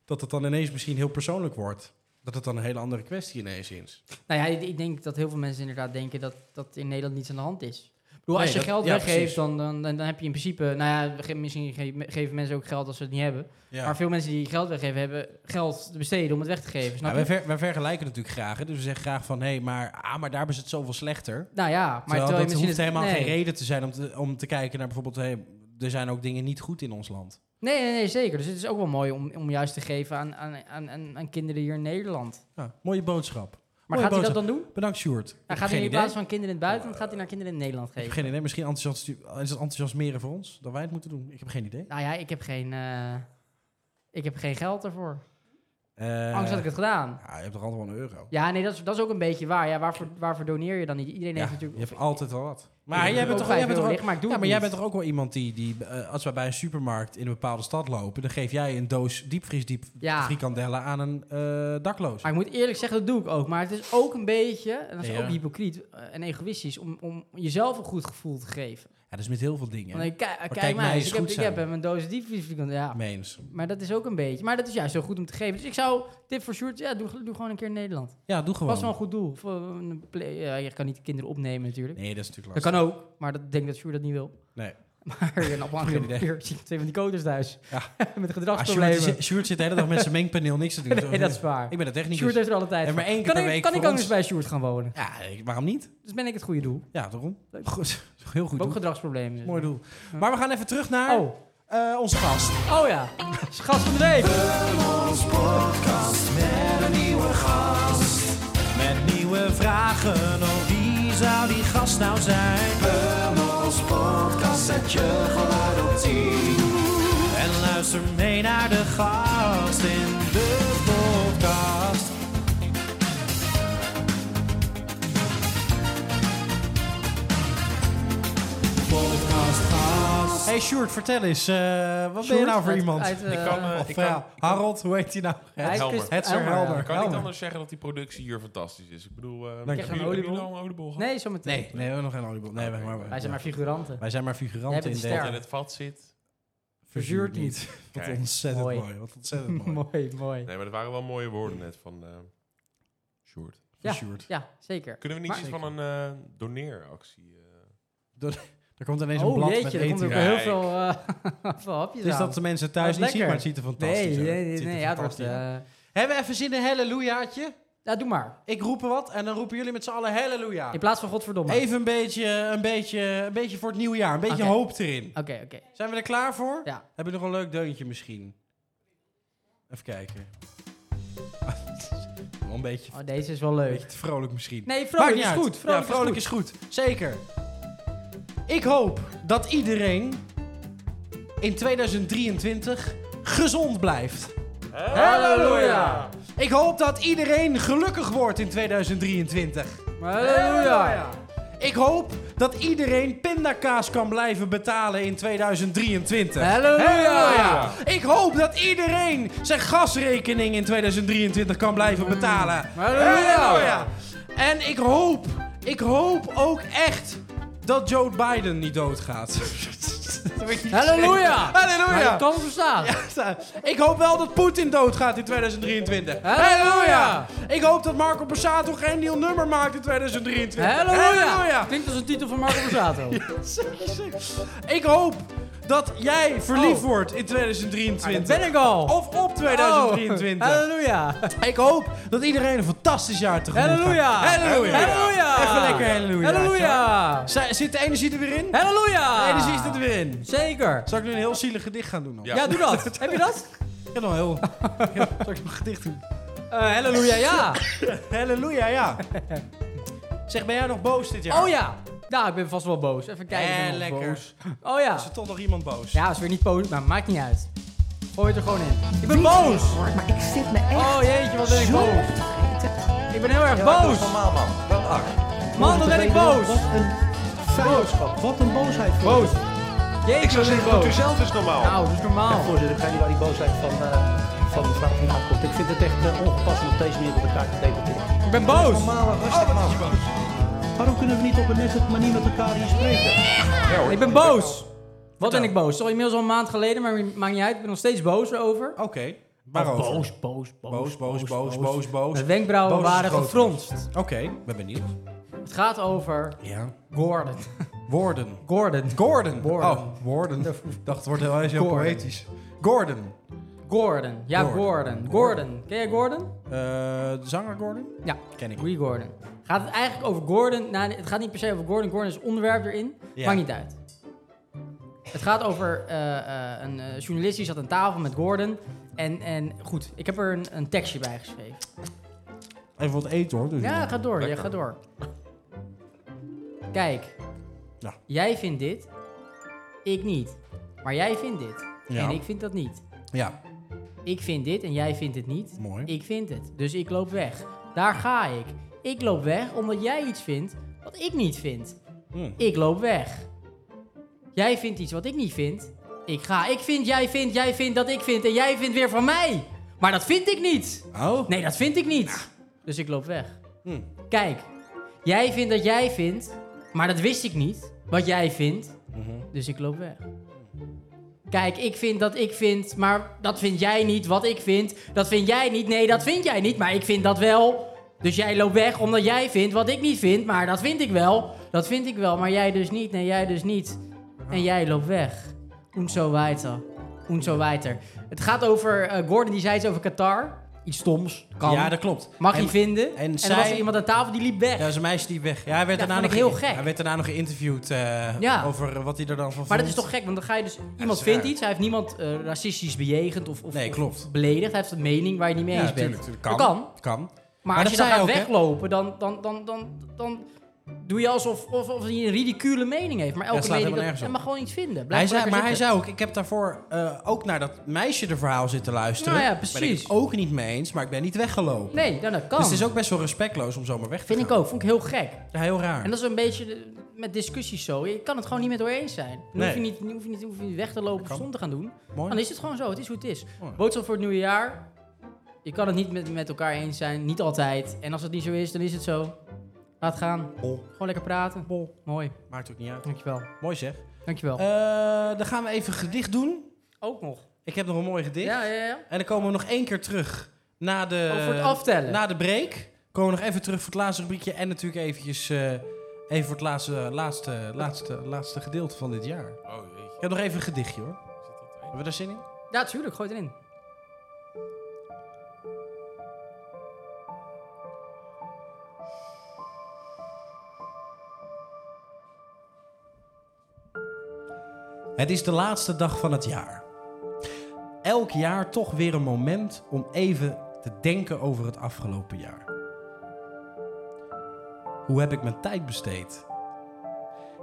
Speaker 2: Dat het dan ineens misschien heel persoonlijk wordt. Dat het dan een hele andere kwestie ineens is.
Speaker 3: Nou ja, ik, ik denk dat heel veel mensen inderdaad denken dat dat in Nederland niets aan de hand is. Ik bedoel, als
Speaker 2: Nee,
Speaker 3: je
Speaker 2: dat-
Speaker 3: geld
Speaker 2: ja, precies.
Speaker 3: weggeeft, dan, dan, dan, dan heb je in principe... Nou ja, we ge- misschien ge- geven mensen ook geld als ze het niet hebben.
Speaker 2: Ja.
Speaker 3: Maar veel mensen die geld weggeven, hebben geld te besteden om het weg te geven. Snap
Speaker 2: Ja,
Speaker 3: je?
Speaker 2: wij, ver- wij vergelijken natuurlijk graag. Hè? Dus we zeggen graag van, hé, maar, ah, maar daar is het zoveel slechter.
Speaker 3: Nou ja, maar
Speaker 2: Maar
Speaker 3: terwijl je
Speaker 2: dat hoeft
Speaker 3: misschien het-
Speaker 2: helemaal
Speaker 3: nee.
Speaker 2: geen reden te zijn om te, om te kijken naar bijvoorbeeld... Hey, er zijn ook dingen niet goed in ons land.
Speaker 3: Nee, nee, nee, zeker. Dus het is ook wel mooi om, om juist te geven aan, aan, aan, aan, aan kinderen hier in Nederland.
Speaker 2: Ja, mooie boodschap.
Speaker 3: Maar
Speaker 2: Mooie
Speaker 3: gaat hij dat
Speaker 2: boodschap.
Speaker 3: dan doen?
Speaker 2: Bedankt, Sjoerd. Ik
Speaker 3: Hij
Speaker 2: heb
Speaker 3: gaat
Speaker 2: geen
Speaker 3: hij in
Speaker 2: idee.
Speaker 3: plaats van kinderen in het buitenland, gaat hij naar kinderen in Nederland
Speaker 2: Ik heb
Speaker 3: geven?
Speaker 2: geen idee. Misschien enthousiast, is het enthousiasmeren voor ons dat wij het moeten doen. Ik heb geen idee.
Speaker 3: Nou ja, ik heb geen, eh, ik heb geen geld ervoor.
Speaker 2: Eh,
Speaker 3: Angst had ik het gedaan.
Speaker 2: ja, je hebt er altijd wel een euro.
Speaker 3: Ja, nee, dat is, dat is ook een beetje waar. Ja, waarvoor, waarvoor doneer je dan niet? Iedereen
Speaker 2: Ja,
Speaker 3: heeft
Speaker 2: je
Speaker 3: natuurlijk...
Speaker 2: hebt altijd wel wat. Maar
Speaker 3: Ik
Speaker 2: Ah, jij
Speaker 3: heb
Speaker 2: bent
Speaker 3: ook
Speaker 2: toch, jij
Speaker 3: vijf
Speaker 2: bent toch
Speaker 3: euro
Speaker 2: ook,
Speaker 3: liggen, maar ik doe
Speaker 2: ja,
Speaker 3: het
Speaker 2: maar jij
Speaker 3: niet.
Speaker 2: bent toch ook wel iemand die, die eh, als wij bij een supermarkt in een bepaalde stad lopen, dan geef jij een doos diepvriesdiep
Speaker 3: Ja.
Speaker 2: frikandellen aan een eh, dakloos.
Speaker 3: Maar ik moet eerlijk zeggen, dat doe ik ook. Maar het is ook een beetje, en dat is
Speaker 2: Ja.
Speaker 3: ook hypocriet eh, en egoïstisch, om, om jezelf een goed gevoel te geven.
Speaker 2: Ja, dat is met heel veel dingen.
Speaker 3: Want ik, kijk, kijk,
Speaker 2: kijk,
Speaker 3: mij
Speaker 2: mij
Speaker 3: eens,
Speaker 2: is
Speaker 3: ik, heb,
Speaker 2: goed
Speaker 3: ik heb
Speaker 2: zijn.
Speaker 3: hem een doos diepvries. Ja,
Speaker 2: Mens.
Speaker 3: maar dat is ook een beetje. Maar dat is juist zo goed om te geven. Dus ik zou, tip voor Sjoerd, ja, doe, doe gewoon een keer in Nederland.
Speaker 2: Ja, doe gewoon.
Speaker 3: Was wel een goed doel. Of, eh, een play- ja, je kan niet de kinderen opnemen natuurlijk.
Speaker 2: Nee, dat is natuurlijk
Speaker 3: Dat
Speaker 2: lastig.
Speaker 3: kan ook, maar dat ik denk dat Sjoerd dat niet wil.
Speaker 2: Nee.
Speaker 3: Maar een
Speaker 2: Geen idee.
Speaker 3: afhankelijk keer zie ik twee van die coders thuis.
Speaker 2: Ja. Ah,
Speaker 3: Met
Speaker 2: Sjoerd,
Speaker 3: gedragsproblemen.
Speaker 2: zit- Sjoerd zit de hele dag met zijn mengpaneel niks te doen.
Speaker 3: nee, dat is waar.
Speaker 2: Ik ben de technicus.
Speaker 3: Sjoerd heeft er alle tijd
Speaker 2: En maar
Speaker 3: voor.
Speaker 2: één keer
Speaker 3: Kan
Speaker 2: per
Speaker 3: ik-
Speaker 2: week
Speaker 3: Kan
Speaker 2: voor
Speaker 3: ik ook
Speaker 2: ons.
Speaker 3: eens bij Sjoerd gaan wonen?
Speaker 2: Ja, ik- waarom niet?
Speaker 3: Dus ben ik het goede doel.
Speaker 2: Ja, daarom.
Speaker 3: Leuk.
Speaker 2: Goed. Heel goed.
Speaker 3: Ook
Speaker 2: doel.
Speaker 3: gedragsproblemen. dus.
Speaker 2: Mooi doel. Maar we gaan even terug naar
Speaker 3: Oh,
Speaker 2: eh, onze gast.
Speaker 3: oh ja. Gast van de week.
Speaker 2: Eh,
Speaker 9: Met nieuwe vragen, oh wie zou die gast nou zijn? Hummels podcast zet je geluid op 10. En luister mee naar de gast in de podcast.
Speaker 2: Hey Sjoerd, vertel eens. eh, wat ben je
Speaker 3: Sjoerd
Speaker 2: nou voor
Speaker 3: uit-
Speaker 2: iemand?
Speaker 3: uit, eh,
Speaker 4: Ik kan, eh,
Speaker 2: of
Speaker 4: ik
Speaker 2: ja,
Speaker 4: kan-
Speaker 2: Harold, hoe heet hij nou?
Speaker 3: hij is
Speaker 4: Helmer.
Speaker 3: Christ-
Speaker 2: Het is er
Speaker 3: Helmer, ja.
Speaker 2: helder.
Speaker 4: Kan ik niet
Speaker 2: Helder.
Speaker 4: anders zeggen dat die productie hier fantastisch is? Ik bedoel, eh hebben
Speaker 2: je.
Speaker 4: jullie- hebben jullie al een oliebol gehad?
Speaker 3: Nee, zometeen.
Speaker 2: Nee, nee, we hebben nog geen oliebol. Nee, wij, maar,
Speaker 3: Wij zijn maar
Speaker 2: ja.
Speaker 3: figuranten.
Speaker 2: wij zijn maar
Speaker 3: Jij
Speaker 2: figuranten
Speaker 3: bent
Speaker 2: in
Speaker 3: een
Speaker 2: deze.
Speaker 4: Dat
Speaker 3: ster.
Speaker 4: in het vat zit.
Speaker 2: Verzuurd niet. Wat
Speaker 4: Kijk.
Speaker 2: ontzettend mooi.
Speaker 3: Mooi.
Speaker 2: Wat ontzettend mooi.
Speaker 3: mooi, mooi.
Speaker 4: Nee, maar dat waren wel mooie woorden net van eh Sjoerd.
Speaker 2: Voor
Speaker 3: Ja.
Speaker 2: Sjoerd.
Speaker 3: Ja, zeker.
Speaker 4: Kunnen we niet
Speaker 3: Maar-
Speaker 4: iets van een eh, doneeractie? eh,
Speaker 2: Er komt ineens een
Speaker 3: Oh
Speaker 2: blad
Speaker 3: jeetje,
Speaker 2: met
Speaker 3: er komt
Speaker 2: eten.
Speaker 3: ook
Speaker 4: Ja,
Speaker 3: heel
Speaker 4: ik-
Speaker 3: veel, eh, veel hapjes
Speaker 2: Het is
Speaker 3: aan.
Speaker 2: dat de mensen thuis
Speaker 3: is
Speaker 2: niet zien,
Speaker 3: lekker.
Speaker 2: maar het ziet er fantastisch
Speaker 3: Nee,
Speaker 2: uit.
Speaker 3: nee,
Speaker 2: Het
Speaker 3: nee.
Speaker 2: ziet er
Speaker 3: nee ja, het wordt,
Speaker 2: fantastisch uit.
Speaker 3: eh,
Speaker 2: Hebben we even zin in een hallelujaatje?
Speaker 3: ja, doe maar.
Speaker 2: Ik roep er wat en dan roepen jullie met z'n allen halleluja.
Speaker 3: In plaats van godverdomme.
Speaker 2: Even een beetje, een, beetje, een beetje voor het nieuwe jaar. Een beetje
Speaker 3: Oké.
Speaker 2: hoop erin.
Speaker 3: Oké, oké.
Speaker 2: Zijn we er klaar voor?
Speaker 3: Ja.
Speaker 2: Hebben we nog een leuk deuntje misschien? Even kijken. Wel een beetje,
Speaker 3: Oh, deze is wel
Speaker 2: een
Speaker 3: leuk.
Speaker 2: beetje te vrolijk misschien.
Speaker 3: Nee,
Speaker 2: Maakt
Speaker 3: vrolijk
Speaker 2: niet
Speaker 3: is
Speaker 2: uit.
Speaker 3: goed. Vrolijk,
Speaker 2: ja, vrolijk
Speaker 3: is
Speaker 2: is goed. Zeker. Ik hoop dat iedereen in 2023 gezond blijft.
Speaker 3: goed. Halleluja.
Speaker 2: Ik hoop dat iedereen gelukkig wordt in 2023.
Speaker 3: Halleluja.
Speaker 2: Ik hoop dat iedereen pindakaas kan blijven betalen in 2023.
Speaker 3: Halleluja.
Speaker 2: Ik hoop dat iedereen zijn gasrekening in 2023 kan blijven betalen.
Speaker 3: Mm. Halleluja.
Speaker 2: Halleluja. En ik hoop, ik hoop ook echt dat Joe Biden niet doodgaat.
Speaker 3: Halleluja! Maar
Speaker 2: Halleluja!
Speaker 3: dat kan ik verstaan.
Speaker 2: Ik hoop wel dat Poetin doodgaat in 2023.
Speaker 3: Halleluja!
Speaker 2: Ik hoop dat Marco Borsato geen nieuw nummer maakt in 2023.
Speaker 3: Halleluja! Klinkt als een titel van Marco Borsato.
Speaker 2: Ik hoop dat jij verliefd
Speaker 3: Oh.
Speaker 2: wordt in
Speaker 3: Dat
Speaker 2: 2023.
Speaker 3: ben ik al.
Speaker 2: Of op
Speaker 3: Oh,
Speaker 2: 2023.
Speaker 3: Halleluja!
Speaker 2: Ik hoop dat iedereen een fantastisch jaar tegemoet gaat.
Speaker 3: Halleluja!
Speaker 2: Halleluja!
Speaker 3: Halleluja!
Speaker 2: Even lekker halleluja.
Speaker 3: Halleluja!
Speaker 2: Z- Zit de energie er weer in?
Speaker 3: Halleluja!
Speaker 2: De energie zit er weer in.
Speaker 3: Zeker.
Speaker 2: Zal ik nu een heel zielig gedicht gaan doen? Dan?
Speaker 4: Ja.
Speaker 3: Ja, doe dat. Heb je dat?
Speaker 2: Ik heb nog heel... Zal ik een gedicht doen?
Speaker 3: Eh halleluja, ja.
Speaker 2: Halleluja, ja. Zeg, ben jij nog boos dit jaar?
Speaker 3: Oh ja. Nou, ik ben vast wel boos. Even kijken.
Speaker 2: Eh,
Speaker 3: ik ben nog
Speaker 2: lekker.
Speaker 3: boos. Oh ja.
Speaker 2: Is er toch nog iemand boos?
Speaker 3: Ja, is weer niet boos, maar maakt niet uit. Gooi het er gewoon in. Ik ben boos!
Speaker 10: Maar ik zit me echt
Speaker 3: Oh jeetje, wat ben ik
Speaker 10: zo
Speaker 3: boos.
Speaker 10: op te vreten.
Speaker 3: Ik ben heel erg boos.
Speaker 9: Normaal man, wel acht.
Speaker 3: Man, dan ben ik boos.
Speaker 10: Wat een vijandschap. Wat een boosheid. voor
Speaker 3: Boos.
Speaker 10: je.
Speaker 3: Jeetje,
Speaker 4: Ik zou
Speaker 3: ben ik
Speaker 4: zeggen, doe
Speaker 3: boos.
Speaker 4: het zelf eens normaal.
Speaker 3: Nou, dat is normaal.
Speaker 10: Voorzitter, ik ga niet waar die boosheid van, eh, van de vraag vandaan komt. Ik vind het echt eh, ongepast om op deze manier met elkaar te debatteren.
Speaker 3: Ik ben boos.
Speaker 9: Normaal, rustig man.
Speaker 10: Waarom kunnen we niet op een nette manier met elkaar hier spreken?
Speaker 3: Ik ben boos. Wat ben ik boos? Het is al inmiddels al een maand geleden, maar maakt niet uit. Ik ben nog steeds boos erover.
Speaker 2: Oké. Waarover?
Speaker 3: Boos, boos, boos.
Speaker 2: Boos, boos, boos, boos, boos.
Speaker 3: Mijn Dus wenkbrauwen
Speaker 2: Boos is
Speaker 3: waren
Speaker 2: groot.
Speaker 3: gefronst.
Speaker 2: Oké, ben benieuwd.
Speaker 3: Het gaat over
Speaker 2: Ja.
Speaker 3: Gordon.
Speaker 2: Woorden.
Speaker 3: Gordon.
Speaker 2: Gordon.
Speaker 3: Gordon.
Speaker 2: Oh, woorden. Ik dacht, het wordt heel, heel
Speaker 3: Gordon.
Speaker 2: poëtisch. Gordon.
Speaker 3: Gordon. Ja,
Speaker 2: Gordon.
Speaker 3: Gordon. Gordon. Ken jij Gordon?
Speaker 2: Eh, de zanger Gordon?
Speaker 3: Ja.
Speaker 2: Ken ik.
Speaker 3: Wie Gordon. Gaat het eigenlijk over Gordon? Nou, het gaat niet per se over Gordon. Gordon is onderwerp erin.
Speaker 2: Ja.
Speaker 3: Maakt niet uit. Het gaat over eh, eh, een eh, journalist die zat aan tafel met Gordon. En, en goed, ik heb er een, een tekstje bij geschreven.
Speaker 2: Even wat eten hoor. Dus
Speaker 3: Ja, ga door. Ja, ga door. Kijk.
Speaker 2: Ja.
Speaker 3: Jij vindt dit. Ik niet. Maar jij vindt dit.
Speaker 2: Ja.
Speaker 3: En ik vind dat niet.
Speaker 2: ja.
Speaker 3: Ik vind dit en jij vindt het niet.
Speaker 2: Mooi.
Speaker 3: Ik vind het. Dus ik loop weg. Daar ga ik. Ik loop weg omdat jij iets vindt wat ik niet vind.
Speaker 2: Hmm.
Speaker 3: Ik loop weg. Jij vindt iets wat ik niet vind. Ik ga. Ik vind, jij vindt, jij vindt dat ik vind. En jij vindt weer van mij. Maar dat vind ik niet.
Speaker 2: Oh?
Speaker 3: Nee, dat vind ik niet. Dus ik loop weg.
Speaker 2: Hmm.
Speaker 3: Kijk, jij vindt dat jij vindt, maar dat wist ik niet. Wat jij vindt,
Speaker 2: Mhm.
Speaker 3: dus ik loop weg. Kijk, ik vind dat ik vind, maar dat vind jij niet. Wat ik vind, dat vind jij niet. Nee, dat vind jij niet, maar ik vind dat wel. Dus jij loopt weg omdat jij vindt wat ik niet vind, maar dat vind ik wel. Dat vind ik wel, maar jij dus niet. Nee, jij dus niet. En jij loopt weg. Und so weiter. Und so weiter. Het gaat over eh, Gordon, die zei iets over Qatar. Iets stoms. Kan.
Speaker 2: Ja, dat klopt.
Speaker 3: Mag
Speaker 2: En-
Speaker 3: je vinden.
Speaker 2: en
Speaker 3: En, er
Speaker 2: zij-
Speaker 3: was er iemand aan tafel die liep weg.
Speaker 2: Ja, zijn meisje die weg. Ja, hij werd,
Speaker 3: Ja,
Speaker 2: daarna, nog
Speaker 3: vond ik heel
Speaker 2: ge-
Speaker 3: gek.
Speaker 2: hij werd daarna nog geïnterviewd eh,
Speaker 3: Ja.
Speaker 2: over eh, wat hij er dan van vond.
Speaker 3: maar dat is toch gek, want dan ga je dus...
Speaker 2: dat
Speaker 3: Iemand
Speaker 2: is
Speaker 3: vindt
Speaker 2: raar.
Speaker 3: iets, hij heeft niemand eh, racistisch bejegend of, of,
Speaker 2: Nee,
Speaker 3: of
Speaker 2: klopt.
Speaker 3: beledigd. Hij heeft een mening waar je niet mee
Speaker 2: Ja,
Speaker 3: eens bent.
Speaker 2: tuurlijk, tuurlijk. Kan.
Speaker 3: Dat kan.
Speaker 2: Kan.
Speaker 3: Maar,
Speaker 2: Maar
Speaker 3: als je
Speaker 2: dat
Speaker 3: dan gaat
Speaker 2: zei hij ook, hè?
Speaker 3: weglopen, dan, dan, dan, dan, dan doe je alsof of, of hij een ridicule mening heeft. Maar
Speaker 2: Ja,
Speaker 3: elke
Speaker 2: slaat
Speaker 3: mening...
Speaker 2: helemaal
Speaker 3: dat-
Speaker 2: nergens
Speaker 3: Hij
Speaker 2: op.
Speaker 3: mag gewoon iets vinden. Blijf
Speaker 2: Hij
Speaker 3: gewoon
Speaker 2: zei, maar
Speaker 3: lekker
Speaker 2: hij
Speaker 3: zitten.
Speaker 2: zei ook, ik heb daarvoor eh, ook naar dat meisje de verhaal zitten luisteren.
Speaker 3: Nou ja,
Speaker 2: Ben ik
Speaker 3: precies.
Speaker 2: het ook niet mee eens, maar ik ben niet weggelopen.
Speaker 3: Nee, nou, dat kan.
Speaker 2: Dus het is ook best wel respectloos om zomaar weg te
Speaker 3: Vind ik
Speaker 2: gaan.
Speaker 3: ook. Vond ik heel gek.
Speaker 2: Ja, heel raar.
Speaker 3: En dat is een beetje de- met discussies zo. Je kan het gewoon niet met elkaar eens zijn. Dan hoef, je
Speaker 2: Nee.
Speaker 3: niet, hoef, je niet, hoef je niet weg te lopen of
Speaker 2: kan.
Speaker 3: stom te gaan doen.
Speaker 2: Mooi.
Speaker 3: Dan is het gewoon zo. Het is hoe het is.
Speaker 2: Mooi.
Speaker 3: Boodschap voor het nieuwe jaar. Je kan het niet met, met elkaar eens zijn. Niet altijd. En als het niet zo is, dan is het zo. Laat gaan.
Speaker 2: Bol.
Speaker 3: Gewoon lekker praten. Mooi.
Speaker 2: Maakt ook niet uit.
Speaker 3: Dankjewel.
Speaker 2: Mooi zeg.
Speaker 3: Dankjewel.
Speaker 2: Eh, dan gaan we even een gedicht doen.
Speaker 3: Ook nog.
Speaker 2: Ik heb nog een mooi gedicht.
Speaker 3: Ja, ja, ja.
Speaker 2: En dan komen we nog één keer terug na de,
Speaker 3: Oh, voor het aftellen.
Speaker 2: Na de break. Komen we nog even terug voor het laatste rubriekje. En natuurlijk eventjes, eh, even voor het laatste, laatste, laatste, laatste gedeelte van dit jaar.
Speaker 4: Oh jeetje.
Speaker 2: Ik heb nog even een gedichtje hoor.
Speaker 4: Zit dat erin?
Speaker 2: Hebben we daar zin in?
Speaker 3: Ja, tuurlijk. Gooi het erin.
Speaker 2: Het is de laatste dag van het jaar. Elk jaar toch weer een moment om even te denken over het afgelopen jaar. Hoe heb ik mijn tijd besteed?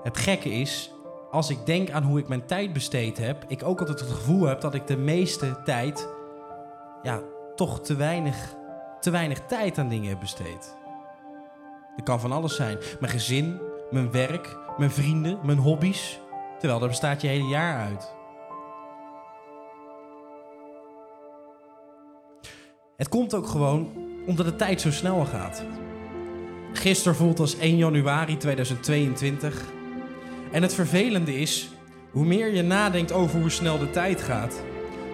Speaker 2: Het gekke is, als ik denk aan hoe ik mijn tijd besteed heb, ik ook altijd het gevoel heb dat ik de meeste tijd, ja, toch te weinig, te weinig tijd aan dingen heb besteed. Dat kan van alles zijn. Mijn gezin, mijn werk, mijn vrienden, mijn hobby's. Terwijl daar bestaat je hele jaar uit. Het komt ook gewoon omdat de tijd zo snel gaat. gisteren voelt als 1 januari 2022. En het vervelende is, hoe meer je nadenkt over hoe snel de tijd gaat,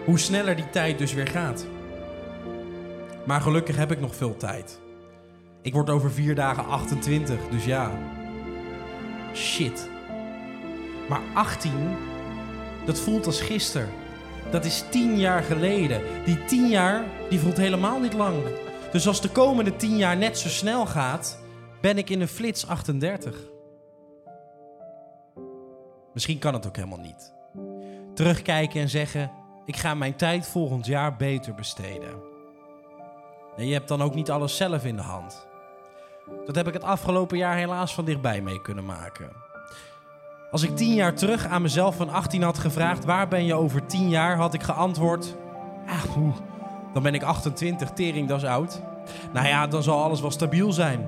Speaker 2: hoe sneller die tijd dus weer gaat. Maar gelukkig heb ik nog veel tijd. Ik word over vier dagen 28, dus ja. Shit. Maar 18, dat voelt als gisteren. Dat is 10 jaar geleden. Die 10 jaar, die voelt helemaal niet lang. Dus als de komende 10 jaar net zo snel gaat, ben ik in een flits 38. Misschien kan het ook helemaal niet. Terugkijken en zeggen: ik ga mijn tijd volgend jaar beter besteden. En je hebt dan ook niet alles zelf in de hand. Dat heb ik het afgelopen jaar helaas van dichtbij mee kunnen maken. Als ik tien jaar terug aan mezelf van 18 had gevraagd: waar ben je over tien jaar? had ik geantwoord: ah, poeh, dan ben ik 28, tering, dat is oud. Nou ja, dan zal alles wel stabiel zijn.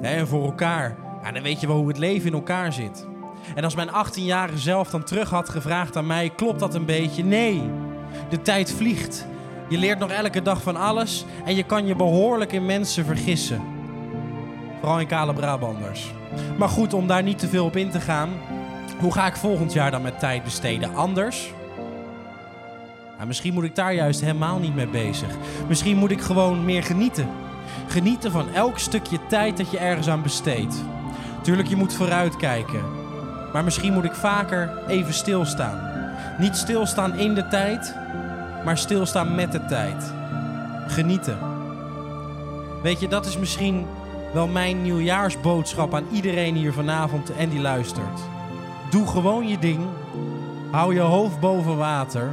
Speaker 2: Hè, en voor elkaar. Ja, dan weet je wel hoe het leven in elkaar zit. En als mijn 18-jarige zelf dan terug had gevraagd aan mij: klopt dat een beetje? Nee, de tijd vliegt. Je leert nog elke dag van alles en je kan je behoorlijk in mensen vergissen. Vooral in kale Brabanders. Maar goed, om daar niet te veel op in te gaan. Hoe ga ik volgend jaar dan met tijd besteden? Anders? Nou, misschien moet ik daar juist helemaal niet mee bezig. Misschien moet ik gewoon meer genieten. Genieten van elk stukje tijd dat je ergens aan besteedt. Tuurlijk, je moet vooruitkijken. Maar misschien moet ik vaker even stilstaan. Niet stilstaan in de tijd, maar stilstaan met de tijd. Genieten. Weet je, dat is misschien wel mijn nieuwjaarsboodschap aan iedereen hier vanavond en die luistert. Doe gewoon je ding. Hou je hoofd boven water.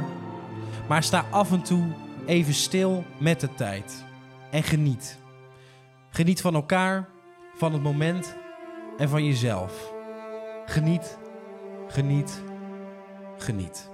Speaker 2: Maar sta af en toe even stil met de tijd. En geniet. Geniet van elkaar, van het moment en van jezelf. Geniet, geniet, geniet.